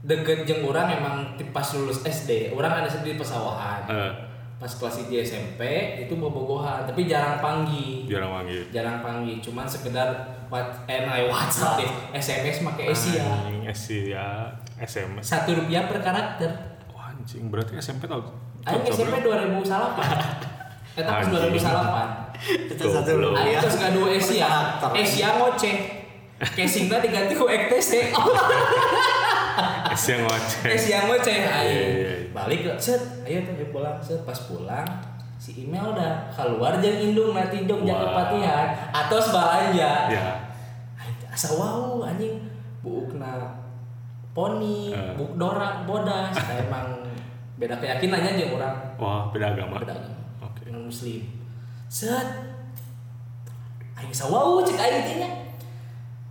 deket jeung urang emang ti- pas lulus SD urang ada di pesawahan
eh,
pas kelas di SMP itu bobogohan tapi jarang panggi
jarang wangi
jarang panggi cuman sekedar what eh nah, WhatsApp deh SMS pakai Asia
Anjing, Asia SMS
satu rupiah per karakter
Wah, anjing berarti SMP tau
Aing
[laughs]
SMP 2008 Eta pas
Anjing.
2008
Itu
Goblok.
satu
Aing
Oh,
rupiah.
terus nggak dua Asia,
Iya.
Per karakter.
Asia ngoceh. Casingnya diganti ku
[laughs]
EKTC.
Asia [laughs] ngoceh
Asia ngoceh
Iya,
aing.
iya, iya.
Balik ke set, ayo tuh ayo pulang set pas pulang si email udah keluar jeung indung nanti jog
Wah.
jangan kepatihan atau sebalanja.
ya
Aing teh asa wow anjing buukna poni,
Eh.
buk dorak bodas. Nah, emang beda keyakinannya jeung orang
wah beda agama
beda agama
Oke.
dengan muslim set aing sawau cek aing teh nya.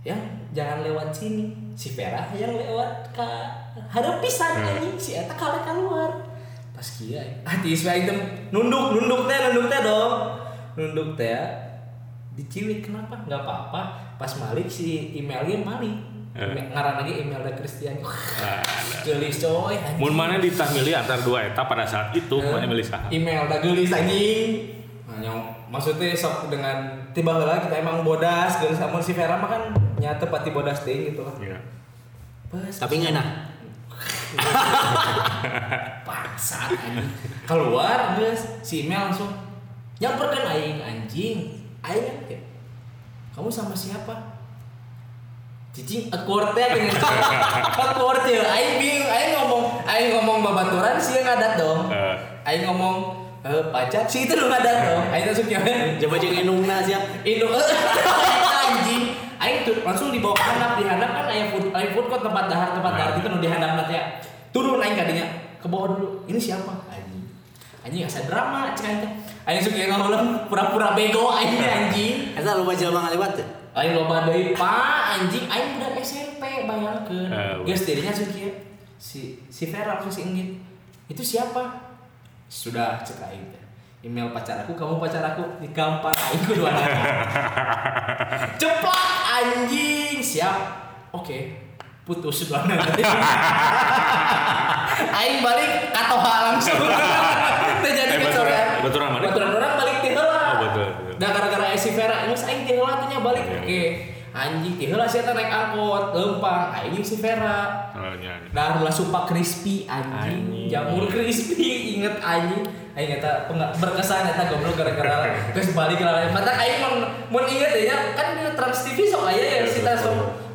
ya jangan lewat sini si Vera yang lewat ke hareup pisan
Hmm.
anjing si eta kalek keluar pas kieu aing hati si aing teh nunduk nunduk teh nunduk teh dong nunduk teh ya. dicilik kenapa nggak apa-apa pas malik si emailnya malik
Eh.
Email- ngaran lagi email dari Christian
Nah,
gelis coy anjing.
Mun mana ditah milih antara dua eta pada saat itu mana milih saha?
email udah gelis anjing nah, nyong, maksudnya sok dengan tiba heula kita emang bodas gelis sama si Vera mah kan nyata pati bodas deh gitu lah
Iya.
pas
Tapi nggak enak.
paksa anjing keluar gelis si email langsung nyamperkan aing anjing aing kayak, kamu sama siapa cicing [laughs] akorte pengen akorte aing bingung aing ngomong aing ngomong babaturan sih ngadat dong
Eh,
aing ngomong eh pajak sih itu lu ngadat dong aing langsung nyaman
Coba cek Nah, indungna sia.
Indo [laughs] anjing. Aing tuh langsung dibawa ke handap di handap kan aya food aya food court tempat dahar tempat dahar gitu nu di handap nanti ya. Turun aing kadinya ke bawah dulu. Ini siapa? Anjing. Anjing asa drama cek aing teh. Aing suka ngomong pura-pura bego aing teh, anjing.
Eta lupa jelema ngaliwat teh.
Aing loba deui pa anjing aing udah SMP bayangkeun.
Eh, weh.
Geus dirinya langsung kieu. Si si Vera langsung si Enggit. Itu siapa? Sudah cek aing teh. Email pacar aku, kamu pacar aku di kampar aing kudu
[laughs]
anak. Cepat anjing, siap. Oke. Putus sudah
[laughs]
nanti. Aing balik katoha
[laughs]
langsung. Teh jadi kecorean.
Eh, baturan- baturan mana?
Baturan orang balik di heula.
Oh, baturan.
Nah gara-gara si Vera ini aing ti heula teh nya balik
Iya,
oke.
iya.
Anjing ti heula sia teh naik angkot lempang aing si Vera.
kalau nyanyi.
Nah heula sumpah crispy anjing.
Anjing.
Jamur crispy inget anjing. Aing eta penga- berkesan eta goblok gara-gara terus balik lah. Mata aing mun mun inget ya kan di Trans TV sok aya ya si Trans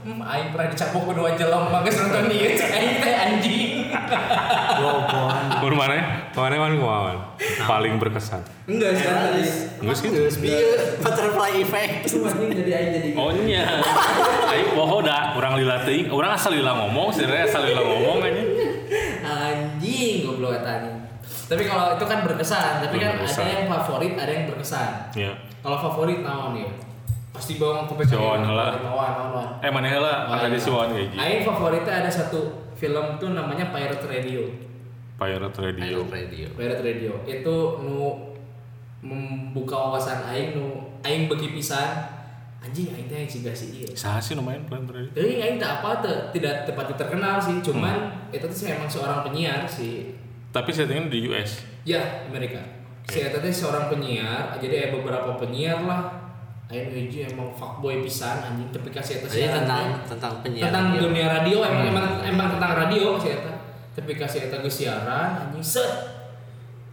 Hmm, aing pernah dicapok kedua jelem mah geus nonton ieu cek aing teh anjing.
Goblok.
Mun mana? Mana mana kumawan? Paling berkesan. gitu.
Enggak sih kan tadi.
Enggak sih.
Iya, butterfly effect.
Itu anjing jadi aing jadi.
Oh nya. Ayo boho dah, orang lila teuing, orang asal lila ngomong, sebenarnya asal lila ngomong aja.
anjing goblok kata anjing tapi kalau itu kan berkesan tapi kan
Berkesan.
ada yang favorit ada yang berkesan
Iya.
kalau favorit naon ya pasti bawang ke
Jawan lah.
naon naon
Eh mana heula
Naon.
kata di Siwan kayak gitu.
Aing Nah, favoritnya ada satu film tuh namanya Pirate Radio
Pirate Radio.
radio.
Pirate Radio itu nu membuka wawasan Aing nu Aing bagi pisan anjing Aing teh yang siga si iya
Saha sih lumayan Pirate Radio.
Jadi Aing tak apa tuh tidak tepat terkenal sih cuman
Hmm.
itu tuh memang seorang penyiar si
Tapi settingnya di US.
Ya, Amerika. Si Eta teh seorang penyiar, jadi ada beberapa penyiar lah. Ayo hiji emang fuckboy pisan anjing tapi kan kasih Eta
Jadi
siaran
tentang
teh.
tentang penyiar.
tentang dunia radio emang emang emang tentang radio si Eta. Tapi kasih Eta geus siaran anjing set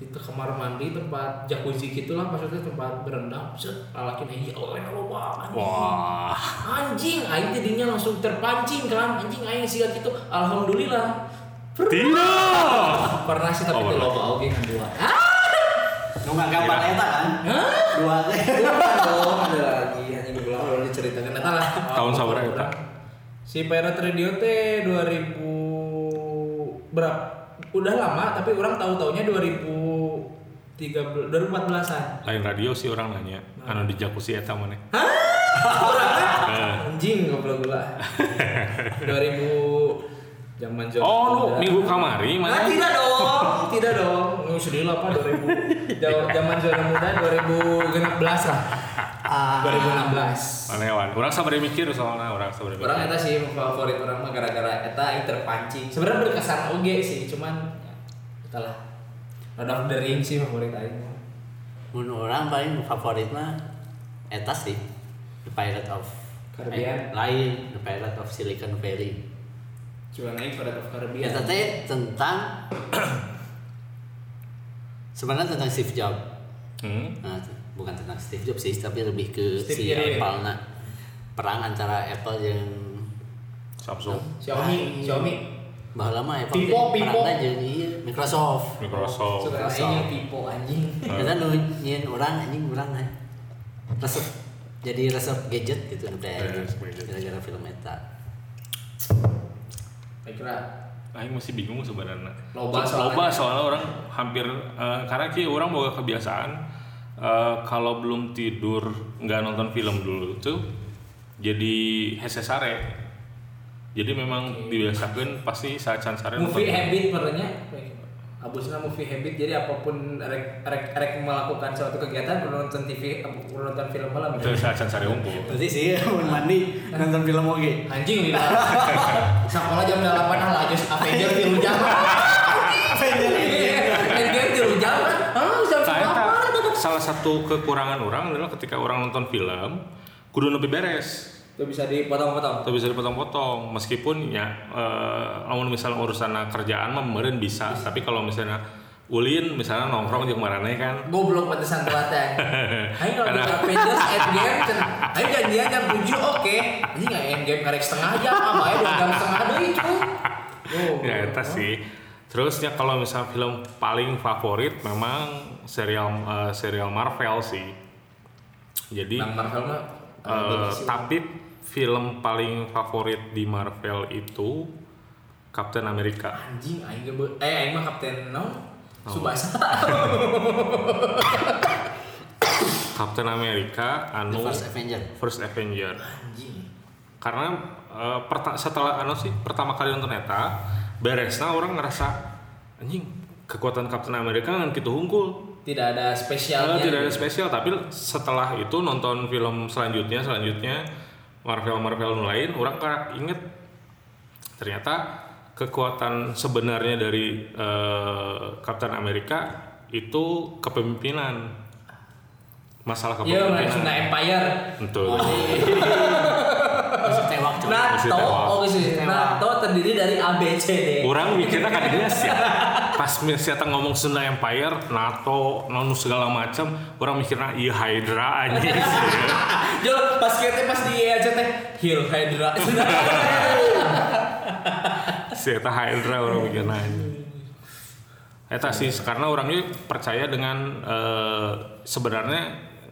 di teu kamar mandi tempat jacuzzi gitulah maksudnya tempat berendam set lalakin hiji oh enak loba anjing.
Wah.
anjing aing teh dinya langsung terpancing kan anjing aing siga gitu alhamdulillah
Tidak.
pernah sih tapi
Oh,
teu
pernah.
loba oge kan dua
Nggak gambar eta kan? Dua teh.
dong ada lagi hanya beberapa udah diceritakan eta lah
Tahun sabaraha eta?
si Pirate Radio teh 2000 berapa udah lama tapi orang tahu taunya 2013 2014an
Lain radio sih orang nanya. Anu di jacuzzi eta mana? Ah.
anjing goblok
[laughs]
gula 2000 zaman zaman
Oh, lu minggu kamari
Nah,
mana?
tidak dong, tidak dong. Oh, Nggak usah dulu apa
[laughs]
2000 Jawa- zaman zona muda 2016 lah.
Ah.
2016.
Mana hewan? Orang sabar mikir soalnya orang sabar mikir.
orang eta sih favorit orang mah gara-gara eta yang terpancing sebenarnya berkesan oge sih cuman ya, itulah Lord of the Rings sih favorit aing mah.
Mun orang paling favorit mah eta sih. The Pirate of
Caribbean.
eh, lain, The Pirate of Silicon Valley.
Cuman aing Pirate of Caribbean.
Eta teh
[coughs]
tentang sebenarnya tentang Steve Jobs.
Hmm.
Nah, t- bukan tentang Steve Jobs sih, tapi lebih ke si
Steve Jobs.
Apple nah perang antara Apple yang
Samsung,
Xiaomi,
Lain.
Xiaomi.
bahala mah Apple
Vivo,
ge
Vivo.
perangna jeung ieu, Microsoft.
Microsoft.
Suka aing yang Vivo anjing.
Kita nu nyin orang anjing urang nah. Resep jadi resep gadget gitu nu teh.
Ya, resep gadget.
Gara-gara film eta.
Saya kira
Aing masih bingung sebenarnya.
Loba soalnya.
Loba soalnya orang hampir eh, karena ki orang bawa kebiasaan eh, kalau belum tidur nggak nonton film dulu tuh jadi hese sare. Jadi memang dibiasakan pasti saat can sare
movie
nonton.
habit perenya. Abusnya movie habit jadi apapun rek rek, rek melakukan suatu kegiatan perlu nonton TV perlu nonton film malam.
Itu saat can sare unggul.
Berarti sih [laughs] mun mandi nonton film oge.
Anjing lila. [laughs] Sekolah jam 8 lah just Avenger tilu jam. Avenger tilu jam. Ah, jam
Nah, eta
8.
salah satu kekurangan orang adalah ketika orang nonton film kudu lebih beres.
Itu bisa dipotong-potong.
atau bisa dipotong-potong meskipun ya eh, lamun misalnya urusan kerjaan mah meureun bisa tapi kalau misalnya ulin misalnya nongkrong jeung marane kan
Goblok pantesan telat ya.
[laughs]
Aing kalau di
Karena-
Avengers Endgame, cer- aing janjian jam 7 oke. Ini nggak Endgame karek setengah jam, apa ya dua jam setengah deh itu.
ya eta sih terusnya kalau misalnya film paling favorit memang serial eh, serial Marvel sih jadi
Bang Marvel mah
eh,
bagus Nah, sih.
tapi film paling favorit di Marvel itu Captain America
anjing aing ge be- eh aing mah kapten naon?
Oh.
Subasa.
Captain America
The
anu
First Avenger.
First Avenger
Anjing.
karena eh, perta- setelah anu sih pertama kali nonton eta beresna orang ngerasa anjing kekuatan Captain America kan gitu hungkul
Tidak ada
Eh,
spesialnya.
tidak ada spesial tapi setelah itu nonton film selanjutnya selanjutnya Marvel Marvel nu lain orang karak inget ternyata kekuatan sebenarnya dari eh, Captain America itu kepemimpinan masalah
Iya, mereka Sunda
kepemimpinan
Empire.
betul
Masuk tewak coy.
Masih
NATO,
tewa.
oh gitu. NATO terdiri dari ABCD.
Orang mikirnya kan dia sih. Pas misalnya ngomong Sunda Empire, NATO, nonu segala macam, orang mikirnya iya Hydra aja sih.
Jo, pas kita Ah, pas di E aja teh Hill Hydra.
Si eta Hydra orang mikirnya aja. Eta sih, karena orangnya percaya dengan eh, sebenarnya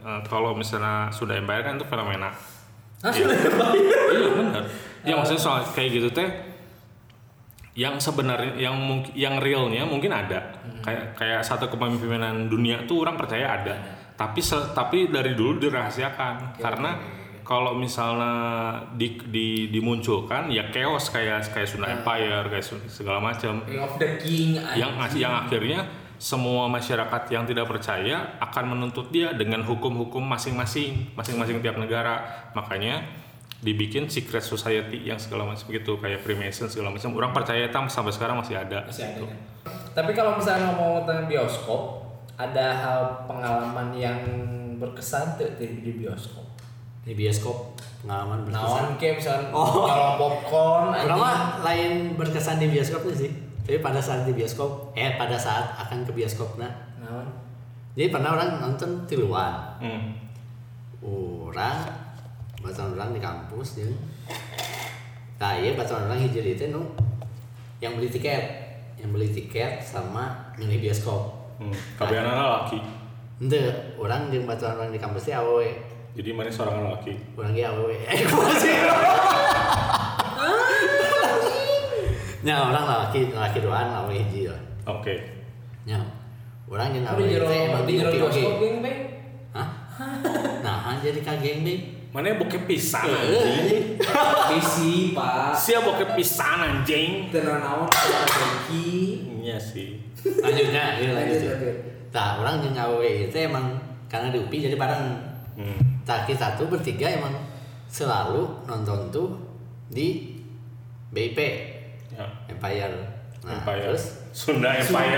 eh, kalau misalnya Sunda Empire kan itu fenomena.
Nah, sudah Empire.
iya benar. Ya maksudnya soal kayak gitu teh yang sebenarnya yang mungkin yang realnya mungkin ada kayak kayak satu kepemimpinan dunia tuh orang percaya ada tapi se- tapi dari dulu dirahasiakan karena kalau misalnya di, di- dimunculkan ya chaos kayak kayak Sunda Empire kayak su- segala macam
Ring of the King. ah,
yang yang akhirnya semua masyarakat yang tidak percaya akan menuntut dia dengan hukum-hukum masing-masing masing-masing tiap negara makanya dibikin secret society yang segala macam gitu kayak Freemason segala macam orang percaya tam sampai sekarang masih ada
masih ada. kan? Tapi kalau misalnya ngomong tentang bioskop, ada hal pengalaman yang berkesan tuh di, di bioskop.
Di bioskop pengalaman berkesan.
Naon kayak misalnya
Oh.
nyolong popcorn,
Nah, Orang mah lain berkesan di bioskop tuh sih. Tapi pada saat di bioskop, eh pada saat akan ke bioskop nah.
Naon?
Jadi pernah orang nonton tiluan.
hmm.
Orang baturan orang di kampus jeung Nah, iya baturan orang hiji itu nu yang beli tiket, yang beli tiket sama milih bioskop.
Hmm. Kabeana laki
Ente, orang jeung baturan orang di kampus teh awewe.
jadi mana seorang laki
Orang ge awewe. [laughs] Eh, kumaha sih?
Ah,
Nya orang laki laki doang awewe hiji lah.
oke
Nya orang yang
Tapi di
awalnya teh
jero
emang
di
di
jero
oke oke.
bioskop geng beng.
Hah? Nah, jadi kageng deh.
mana bokep pisan anjing
Eh,
Bisi pak.
sia bokep pisan anjing
Tenang naon ada Becky.
iya sih
Lanjutnya, iya lanjut.
Lanjut, lanjut.
Tah, orang jeung awewe itu emang karena di UPI jadi bareng.
hmm.
Tah kita tuh bertiga emang selalu nonton tuh di BIP
ya
Empire. Nah,
Empire.
terus?
Sunda
[laughs]
Empire.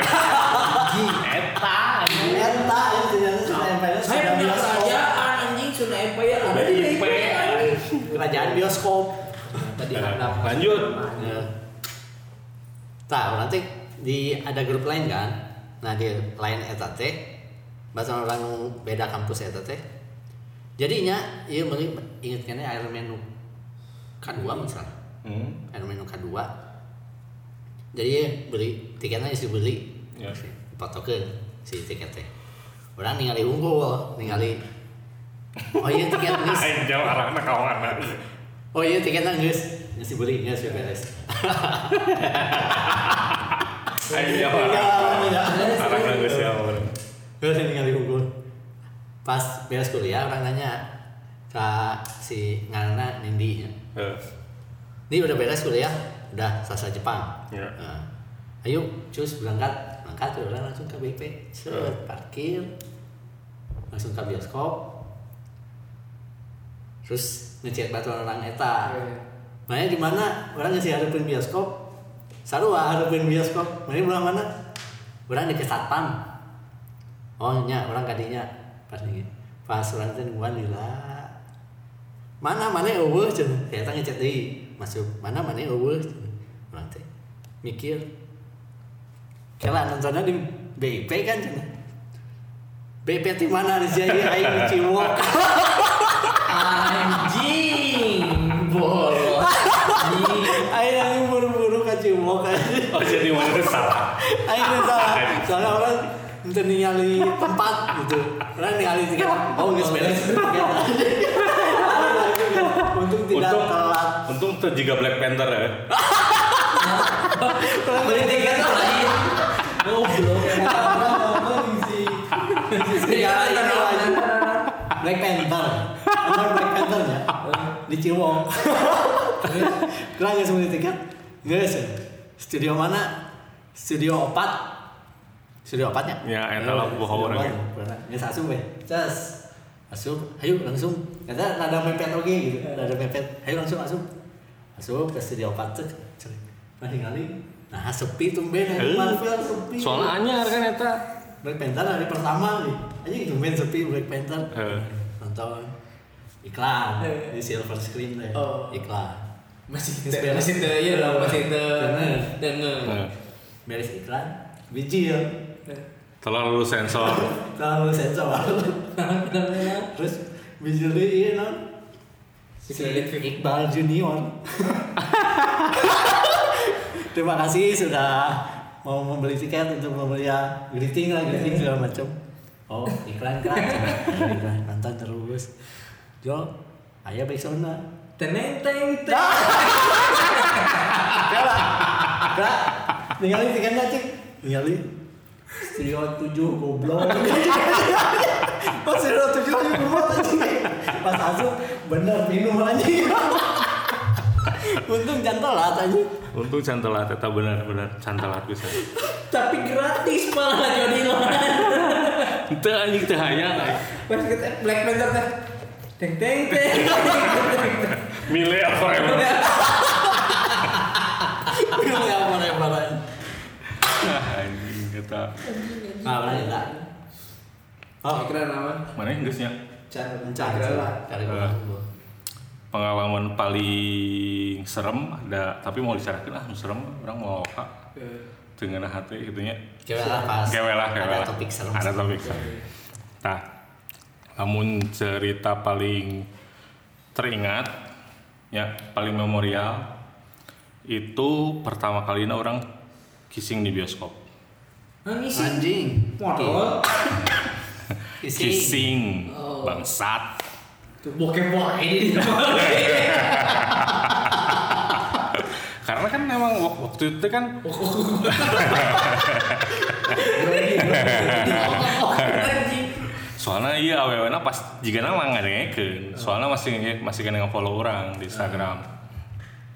Eta. anjing.
Eta, ini ternyata Sunda Empire
Saya
Sunda
punya
bioskop.
kerajaan anjing Sunda Empire ada di
Dari
DP.
IPR.
Kerajaan bioskop.
Tadi
Eh,
handap.
lanjut.
Nah, Tah, nanti di ada grup lain kan? Nah di lain eta teh, bahasa orang beda kampus eta teh. Jadinya, iya mending inget kene air menu K2 misalnya.
Hmm.
Air menu K2. Jadi ieu beli tiketnya sih beli.
Ya.
Dipotokeun si tiket teh. Orang ningali unggul, ningali Oh iya tiket
[laughs]
geus.
Jauh arahna kawanna.
Oh iya tiketnya geus. Ngasih beli, ngasih beres.
Ayo jauh
Iya,
arahna.
iya.
Arahna geus jauh.
Gue sering ningali unggul. Pas beres kuliah orang nanya ke si Ngana Nindi.
Eh,
Ini udah beres kuliah, udah sasa Jepang.
Iya.
Nah, ayo cus berangkat, berangkat tuh orang langsung ke BP, set
Iya.
parkir, langsung ke bioskop. Terus ngecek batuan orang eta.
Iya.
Makanya di mana orang ngasih harapin bioskop. Sarua harapin bioskop. Mana ulah mana? Orang di kesatpam. Oh nya orang kadinya pas nih pas orang teh nungguan lila. Mana mana eueuh cenah. Saya tanya ngechat deui. Masuk mana mana eueuh. cenah. Orang teh mikir. Kela nontonnya di BIP kan cenah. BIP di mana di sini aing di Ciwok.
Anjing bolos. Anjing.
Aing aing buru-buru kan, ke Ciwok. anjing.
Oh jadi mana salah?
Aing teh salah. Soalnya orang teu ningali tempat gitu. Orang ningali tiket. Oh geus beres. Tiket. Untung tidak
Untung,
telat.
untung tuh juga Black Panther ya.
Beli tiket lah [laughs] anjing. Goblok. Iya,
Serigala ini lagi. Black Panther. Nomor Black Panther ya. Di Ciwong. Kurang geus meuli tiket. Geus. Studio mana? Studio opat. Studio Iya, opatnya.
Ya, eta lah bohong orang ya.
Geus asup we. Cas. Asup. Ayo langsung. Kata rada mepet oge gitu. Rada mepet. Ayo langsung asup. Asup ke studio opat tuh. Nah, ningali. Nah, sepi tumben.
Eh,
Marvel sepi.
Soalnya anyar kan Eta.
Black Panther hari pertama nih aja gitu main sepi Black Panther
Eh.
nonton iklan
Eh.
di silver screen deh
Oh.
iklan
Masih te- masih te ya dong, masih te
Bener.
denger.
Iya.
Eh,
beres iklan biji ya
Telah lulus sensor.
terlalu sensor [laughs] terus biji dulu iya non si
Secret Film.
Iqbal Junior [laughs] terima kasih sudah mau membeli tiket untuk membeli ya greeting lah greeting segala macam oh iklan kan iklan nonton terus Jo ayah besona
Teneng teng teng.
Kak, tinggalin tiket aja. Tinggalin. Studio 7 goblok. Pas studio 7 aja goblok anjing. Pas masuk bener minum anjing. Untung jangan telat anjing.
Untung cantelat Eta benar-benar cantelat bisa.
Tapi gratis malah jadi
Itu anjing teh hayang. eh.
Pas kita Black Panther teh. Teng teng teng.
Mile forever.
Minum yang mana yang mana.
Ah, Anjing Eta.
Nah, mana ya? Kak? Oh,
Oh, keren apa?
Mana Inggrisnya?
Cara
mencari
lah.
cari orang gua.
Pengalaman paling serem ada tapi mau dicarakan ah nu serem orang mau apa dengan hati gitunya
Kira lah pas.
Kewe lah, kewe
Ada
lah.
topik serem.
Ada topik serem. Nah, namun cerita paling teringat, ya paling memorial itu pertama kalinya orang kissing di bioskop.
Nangis sih.
Anjing.
Modal.
Isi.
Kissing,
Oh.
bangsat.
Tuh bokep wae
[laughs]
ini.
Karena kan memang wak- waktu itu kan
Grogi, grogi. Anjing.
soalnya iya awewena pas jika nama nggak ngekeun. soalnya masih nge- masih kena follow orang di Instagram.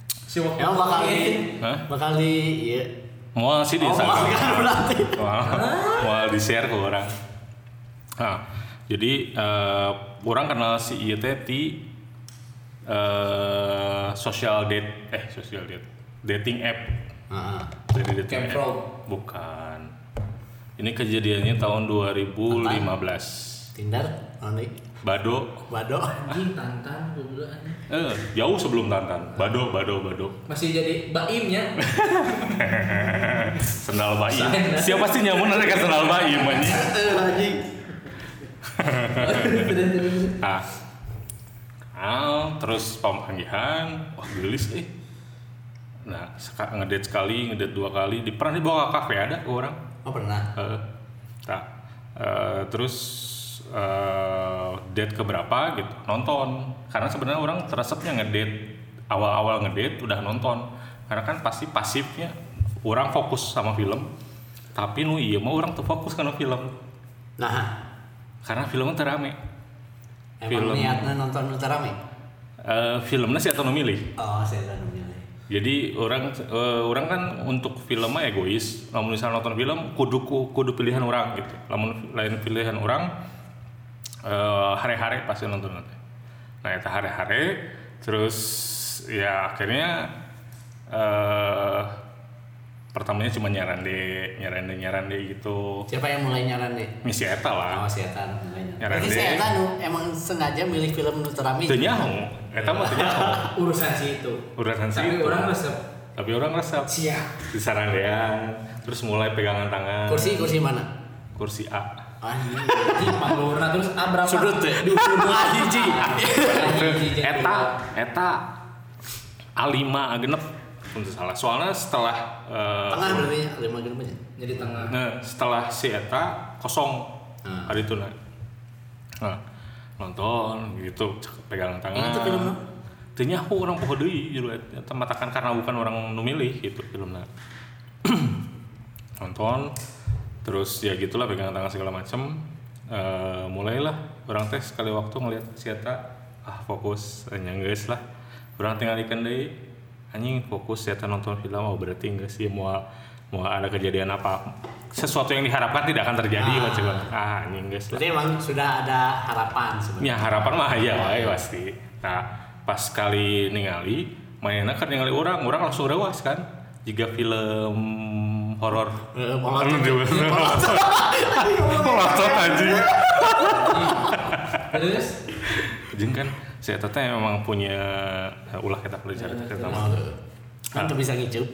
Si waktu
Emang bakal di,
Hah?
bakal di, iya.
Mau sih di
Oh,
Instagram.
bakal
[laughs]
berarti.
Wah, di share ke orang. Nah, jadi eh, orang kenal si Iya teh di eh, social date eh social date dating app
Heeh.
Jadi di
Camp
TNF.
Frog.
Bukan. Ini kejadiannya tahun 2015.
Tinder, Onik,
Bado.
Bado.
Anjing tantan gue bilang anjing.
Eh, jauh sebelum Tantan. Bado, Bado, Bado.
Masih jadi baimnya.
Sendal baim.
Sendal.
Siapa sih nyamun ada ke sendal baim anjing?
Eh, anjing.
Terus, terus.
Nah, kenal, terus pemanggihan, wah gelis eh. Nah, seka- ngedate sekali, ngedate dua kali, di pernah dibawa ke kafe ada ke orang.
Oh pernah.
Eh, nah, eh, terus eh, date keberapa gitu nonton karena sebenarnya orang teresepnya ngedate awal-awal ngedate udah nonton karena kan pasti pasifnya orang fokus sama film tapi nu iya mau orang tuh fokus karena film
Nah,
karena filmnya terame
emang
Film.
niatnya nonton utara rame?
Eh, filmnya sih atau milih
Oh, saya kan memilih.
Jadi orang eh, orang kan untuk film mah egois. Namun misalnya nonton film kudu ku- kudu pilihan orang gitu. Namun lain pilihan orang eh, hari-hari pasti nonton nanti. Nah itu hari-hari terus ya akhirnya eh pertamanya cuma nyaran deh, nyaran deh, nyaran deh gitu.
Siapa yang mulai nyaran deh?
Misi eta lah.
Oh, saya kan mulai nyaran.
Nyaran
Berarti
deh.
saya kan nu- emang sengaja milih film utara rame.
Teu nyaho. Eta mah teu nyaho.
Urusan si itu.
Urusan si
Tapi
itu.
orang resep.
Tapi orang resep.
Siap.
Disarandean, terus mulai pegangan tangan.
Kursi kursi mana?
kursi A.
Anjing.
Anjing panglurna terus ah berapa?
Sudut ya?
Di sudut.
Anjing. [laughs]
Anjing, jadi
Eta, eta A5 A genep pun salah. Soalnya setelah eh,
Tengah berarti
ya,
lima genep aja.
Jadi tengah.
nah, setelah si eta kosong
Hmm.
hari itu nah. Nah, nonton gitu cek, pegangan tangan.
Itu film apa?
Teu nyaho orang poho deui jero eta eta matakan karena bukan orang nu milih gitu filmna. nonton terus ya gitulah pegangan tangan segala macem Eh, mulailah orang teh sekali waktu ngelihat si Eta ah fokus hanya guys lah orang tinggal ikan deh anjing fokus si Eta nonton film oh berarti enggak sih mau mau ada kejadian apa sesuatu yang diharapkan tidak akan terjadi
Ah.
lah coba ah anjing guys lah
Berarti emang sudah ada harapan sebenarnya.
ya harapan mah ya wae pasti nah pas kali ningali mainnya kan ningali orang orang langsung rewas kan jika film horor
Eh, molot.
Anu dewe. Molot anjing.
Terus
Jeung kan si Eta teh memang punya eh, ulah kita belajar
Ya,
kita
Mau tuh. Kan tuh bisa ngicup.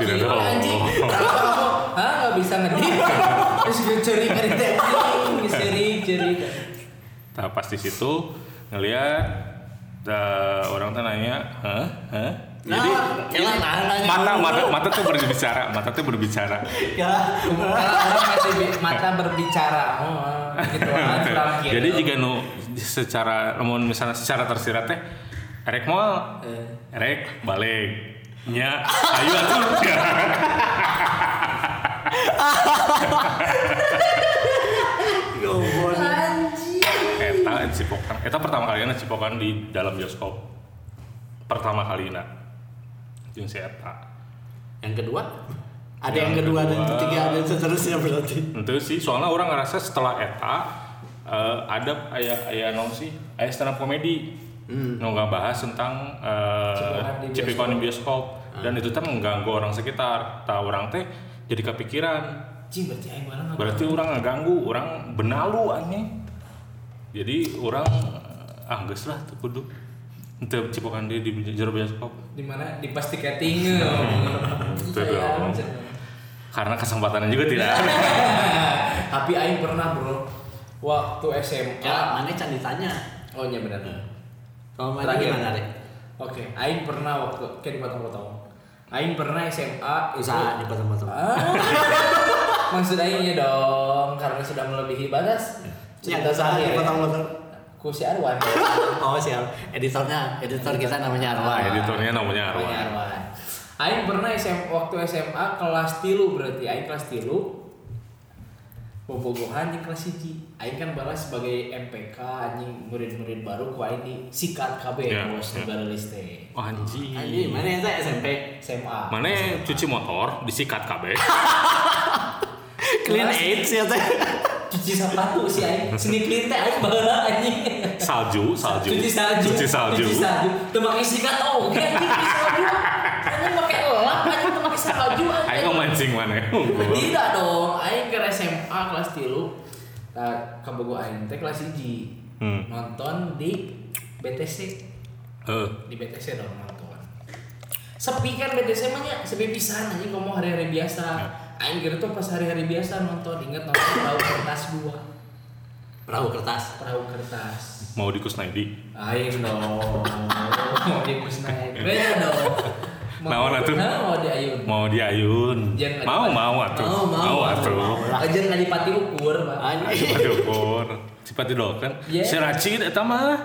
Tidak
Iya,
dong.
[laughs] anjing. Hah, nggak bisa ngedit. Terus gue curi dari tadi, curi, curi.
Nah pas di situ ngelihat eh, orang teh nanya, "Hah? Hah?" Jadi
kira nanya.
mata
dulu.
mata mata tuh berbicara, mata tuh berbicara.
Ya.
Kalau orang masih bi- mata berbicara, oh, gitu kan, kurang gitu.
Jadi jika nu secara namun misalnya secara tersirat teh erek moal,
Eh,
erek balik. Nya, ayo atuh.
Gombol.
Eta cipokan. Eta pertama kalinya cipokan di dalam bioskop. Pertama kalinya. Jeung si Eta.
Yang kedua? Ada
Yang
yang, kedua, dan
kedua.
ketiga dan seterusnya berarti.
Itu sih soalnya orang ngerasa setelah Eta eh, ada ayah ayah non sih ayah stand up komedi
Hmm.
nu bahas tentang
Cipokan di
eh cipokan di bioskop dan itu teh mengganggu orang sekitar. Tah orang teh jadi kepikiran
Cing berarti aing mana nggak-
Berarti orang ngeganggu, orang benalu anjing. Jadi orang ah geus lah teu kudu. Teu cipokan dia di jero bioskop.
di mana di pas
[laughs]
tiketing. Iya,
Teu dong. Karena kesempatannya juga tidak ada.
Tapi aing pernah, Bro. Waktu SMA.
Ya, mana can ditanya.
Oh, iya benar.
Kalau mana
Terakhir.
gimana, Rek?
Oke, aing pernah waktu kayak dipotong-potong. Aing pernah SMA itu-
Usaha dipotong-potong.
Ah. [laughs] Maksud aing ya dong, karena sudah melebihi batas.
Yang usaha
terakhir ya.
dipotong-potong.
Ku si Arwan.
Oh, siap. Editornya, editor kita namanya
Nah,
Arwan.
editornya namanya
Namanya
Arwan.
Arwan. Aing pernah SM, waktu SMA kelas tilu berarti aing kelas tilu bobogohan di kelas hiji aing kan balas sebagai MPK anjing murid-murid baru ku aing di sikat KB
Ya,
bos
ya.
negara liste
Oh, anjing.
Anjing, mana yang saya SMP?
SMA
Mana cuci motor disikat kabeh.
Clean
Kelas-
AIDS ya teh.
[laughs]
cuci sepatu sih aing seni clean teh aing baheula anjing
Salju, salju.
Cuci salju.
Cuci salju.
oh, Cuci salju. Teu make sikat oge anjing cuci salju. Anjing make elah baju
Aing
aja.
mau mancing mana
[laughs]
ya? unggul.
Tidak dong, aing ke SMA kelas 3. Nah, ke Bogor aing teh kelas 1.
Hmm.
Nonton di BTC,
Eh,
di BTC dong nonton. kan. Sepi kan BTC mah nya, sepi pisan anjing ngomong hari-hari biasa.
Ya.
Aing kira tuh pas hari-hari biasa nonton, inget nonton perahu kertas dua,
Perahu kertas.
perahu kertas.
mau di Kusnaidi.
Aing dong, mau di Kusnaik. Beda
[laughs]
dong.
Naon atuh?
Naon di Ayun.
Mau di Ayun.
Jangan
Mau
ada-
mau atuh.
Mau, mau,
Mau
mau,
atuh.
Aja ngadipati ukur, Pak.
Anjing.
Aduh, Pur. Cepat dulu kan.
Iya.
Si Racid eta mah.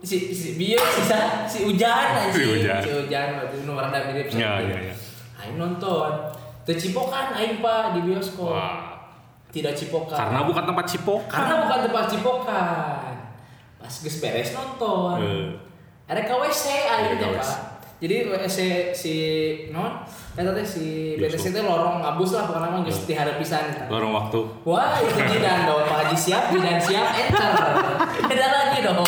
si si bieu sisa si hujan anjing
Si Ujan.
si hujan berarti nu rada mirip sama
Ya,
dia.
ya, ya.
aing nonton teu cipokan aing pak di bioskop
Wah.
tidak cipokan
Karena bukan tempat cipok.
karena bukan tempat cipokan pas geus beres nonton
Eh.
ada ke WC aing
Ada
teh
ke
pak
WC.
jadi WC si non eta teh si
Bioskop.
BTC teh lorong ngabus lah pokoknya mah geus diharap pisan
Lorong waktu.
Wah itu jidan dong Pak Haji siap, jidan siap, enter Beda lagi dong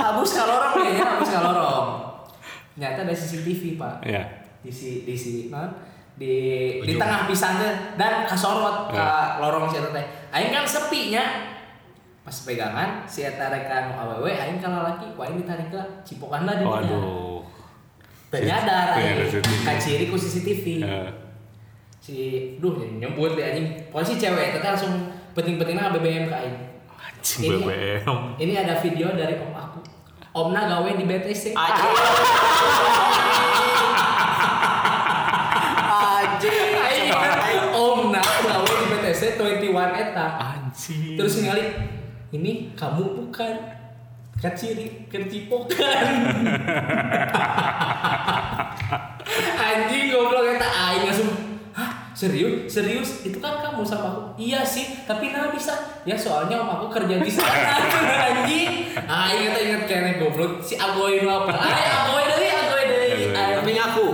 Abus kalorong kayaknya, abus kalorong Nyata ada CCTV pak
Ya.
Di si, di si, non? Di, di
Ujung.
tengah pisannya Dan kasorot ke
Ya.
lorong si Eta teh Aing kan sepinya Pas pegangan, si Eta rekan aww Aing kalah lagi, wah ini ditarik ke cipokan lah dia
Waduh. Anu
Ternyadar
Ternyadar
Aing
CCTV.
Kaciri ku CCTV
Eh,
si duh nyebut deh anjing pokoknya si cewek itu langsung penting-pentingnya BBM ke aing
Anjing
Ini-
BBM.
ini ada video dari om aku omna gawe di BTC
Anjing. Anjing.
Aing, omna gawe di BTC 21 eta
Anjing.
terus ningali ini kamu bukan Kan kaciri kercipokan [laughs] anjing goblok eta aing langsung hah serius serius itu kan kamu sama aku iya sih tapi nah bisa ya soalnya om aku kerja di sana [laughs] anjing Ah, aing eta inget kene goblok si agoy nu apa ay agoy deui agoy deui Ay,
Tapi ngaku.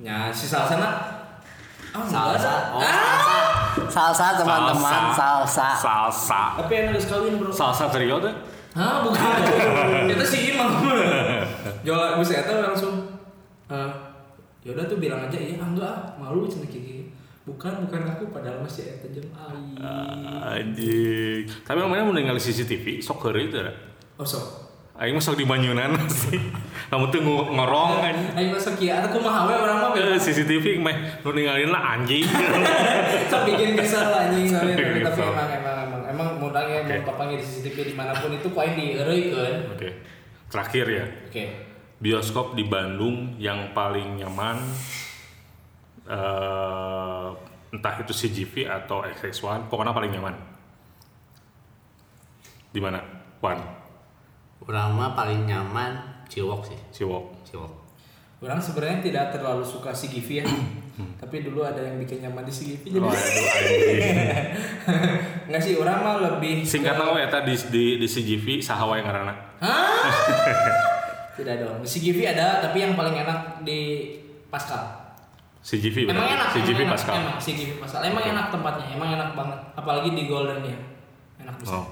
nya si salsana Oh, enggak,
Salsa.
Sa.
Oh,
Ah!
salsa. Salsa teman-teman, salsa.
Salsa.
Tapi yang harus kawin bro.
Salsa trio tuh.
Hah, bukan.
[laughs]
itu si Imam. Jola Bu Seta langsung eh yaudah tuh bilang aja iya ah, enggak ah, malu cina kiki. Bukan, bukan aku padahal masih eta jeung ai.
Ah. Anjing. Tapi namanya mau ningali CCTV, sok heureuy teu da.
Oh so.
Aing mah sok di Banyunan [laughs] sih. Lamun teu ngo- ngorong kan.
Ayo masuk ya, aku mah hawe orang mah
Eh, CCTV meh nu ninggalin lah anjing. [laughs]
Sok bikin kesel anjing tapi
Bikin
tapi
kesel.
emang emang emang emang modalnya okay.
Oke.
papangnya di CCTV dimanapun itu kuain dieureuykeun.
Oke. Terakhir ya.
Oke.
Bioskop di Bandung yang paling nyaman eh entah itu CGV atau XX1, pokoknya paling nyaman. Di mana? One,
Orang mah paling nyaman Ciwok sih.
Ciwok.
Ciwok.
Orang sebenarnya tidak terlalu suka si Givi ya.
Hmm.
Tapi dulu ada yang bikin nyaman di si Givi jadi
Waduh, Oh, anjing.
[laughs] Nggak sih, orang mah lebih
Singkatan we eta di di, di CGV saha wae ngaranna?
Tidak dong. Si Givi ada, tapi yang paling enak di Pascal.
CGV
Emang
berarti.
enak.
CGV
emang enak,
Pascal.
Emang si Givi Pascal. Emang enak tempatnya, emang enak banget. Apalagi di Golden ya. Enak bisa.
Oh.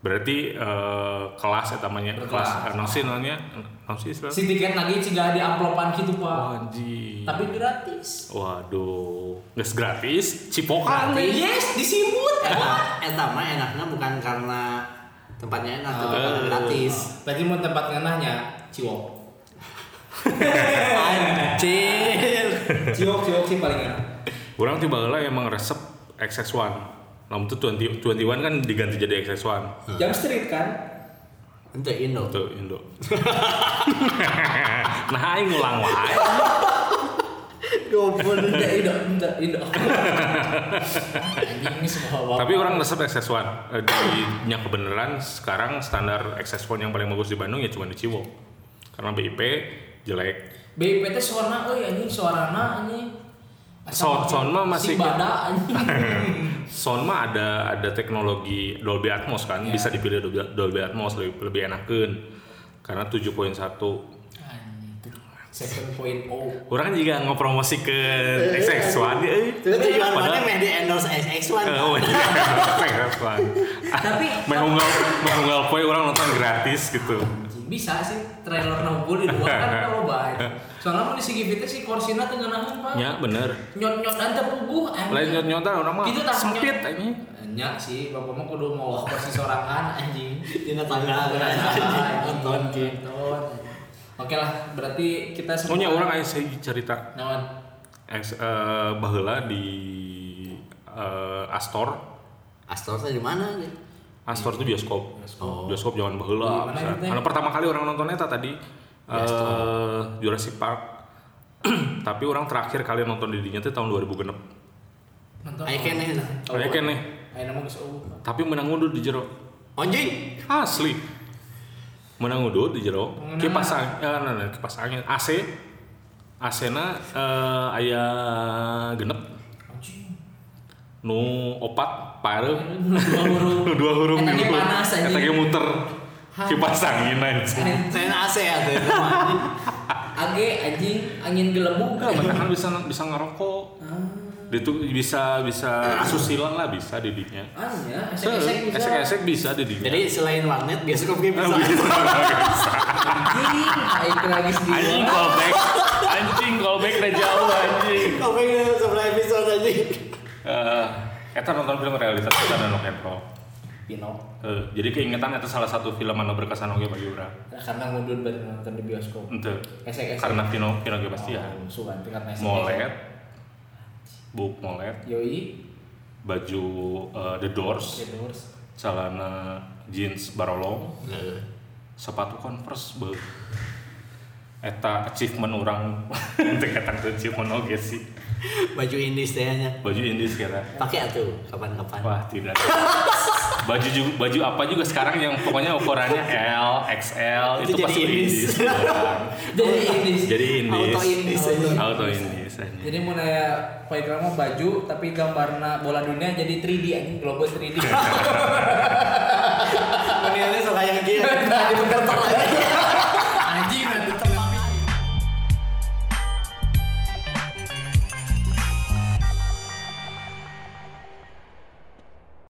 Berarti eh, kelas eta mah nya,
Berkelas.
kelas eh, naon sih namanya? Naon sih istilah?
Si tiket lagi cigah di amplopan gitu,
Oh,
Pak.
Anjing.
Tapi gratis.
Waduh, nggak Oh, gratis, cipokan
Gratis.
deh.
Yes, ya, disimut.
[laughs] Eta, eta mah Eh, enaknya bukan karena tempatnya enak, tapi
Eh.
karena gratis.
Tadi mau tempat ngenahnya Ciwok.
Anjir.
Ciwok, Ciwok sih paling enak.
Orang tiba lah emang resep XX1. Namun itu 20, 21 kan diganti jadi XX1.
Jam street kan?
Untuk Indo.
Tuh Indo. [laughs] nah, aing ngulang wae.
Goblok. Enggak, Indo, enggak, Indo. Anjing ini semua bawa.
Tapi orang resep XX1 eh, di nya kebenaran sekarang standar XX1 yang paling bagus di Bandung ya cuma di Ciwok. Karena BIP jelek.
BIPT suarana euy anjing suarana anjing.
Sound- sound mah masih-
si bada
[laughs]
anjing.
Sound mah ada ada teknologi Dolby Atmos kan bisa dipilih Dolby, Dolby Atmos lebih, lebih enakeun. Karena 7.1
Anjing, itu 7.0.
Orang juga ngepromosi ke XX1 ya. eh.
Itu tujuan
Padahal-
mana meh di endorse
Eh,
SX1
oh iya, XX1.
Tapi-
[laughs] Main unggal, main unggal poe orang nonton gratis gitu.
Anjing. bisa sih trailer nunggul di luar kan kalau baik soalnya mau di sigi teh si korsina tengah nahan pak
Ya bener.
nyot nyot dan terpuguh
Lain
anjing
nyonyotan orang mah
Gitu tah,
sempit eh,
nyot.
anjing.
nya sih bapak mah kudu mau kursi sorangan
[laughs]
anjing
Tina tangga
Nah,
kan nonton
nonton
gitu.
nonton. oke lah berarti kita
Oh nya
semua
orang aya saya cerita
naon
es eh, baheula di eh, Astor.
Astor teh di mana gitu?
Astor itu bioskop.
Oh.
Bioskop zaman baheula.
Di mana
pisan.
gitu ya?
Anu pertama kali orang nonton eta tadi eh Jurassic Park. [clears throat] Tapi orang terakhir kali nonton di dinya teh tahun 2006.
nonton
Ayo keneh lah.
Oh,
Aya keneh.
ayo nama geus eueuh.
Tapi menang undur di jero.
Anjing.
Asli. Menang udut di jero.
Menang.
Kipas angin, eh, nah, nah, kipas angin AC. AC-na eh, aya genep
Anjing. [laughs]
nu opat pareuh
Dua huruf.
nu dua huruf
Eta ge
gitu.
panas anjing.
Eta ge muter. Kipas angin anjing.
Saya AC ya teh. itu mah, anjing.
Age anjing angin gelembung
Enggak, menahan kan bisa bisa ngerokok.
Ah.
Itu bisa bisa asusila lah bisa didiknya.
Anya, esek-esek
Esek
bisa.
esek bisa didiknya.
Jadi selain warnet bioskop
Eh,
ge bisa. [laughs]
Anjing, aing teh lagi sedih.
anjing callback. Anjing callback udah jauh anjing.
Kau pengen sebelah episode aja.
Eh, Eta nonton film realitas kita dan rock and roll.
Pino.
Eh, jadi keingetan itu salah satu film anu berkesan oge bagi urang.
Nah, karena mundur bari nonton di bioskop.
Henteu.
Esek-esek.
Karena Pino Pino ge pasti ya.
Oh, Sugan teh karena esek-esek.
Molet. Buk molet,
Yoi,
baju eh, The Doors,
Doors.
celana jeans barolong,
Iya,
sepatu Converse be. Eta achievement orang [laughs] teu kata achievement oge sih.
Baju indis teh nya.
Baju indis kira.
Pakai atuh kapan-kapan.
Wah
[laughs]
tidak. baju ju- baju apa juga sekarang yang pokoknya ukurannya L, XL itu,
Itu jadi
pasti
indies.
indies. orang.
Jadi ini
jadi indies.
Auto indis aja.
Auto indies aja.
Jadi mau nanya Faikra mah baju tapi gambarna bola dunia jadi 3D [laughs] anjing globo 3D.
Menilainya suka yang gila.
Nah, di bener nah,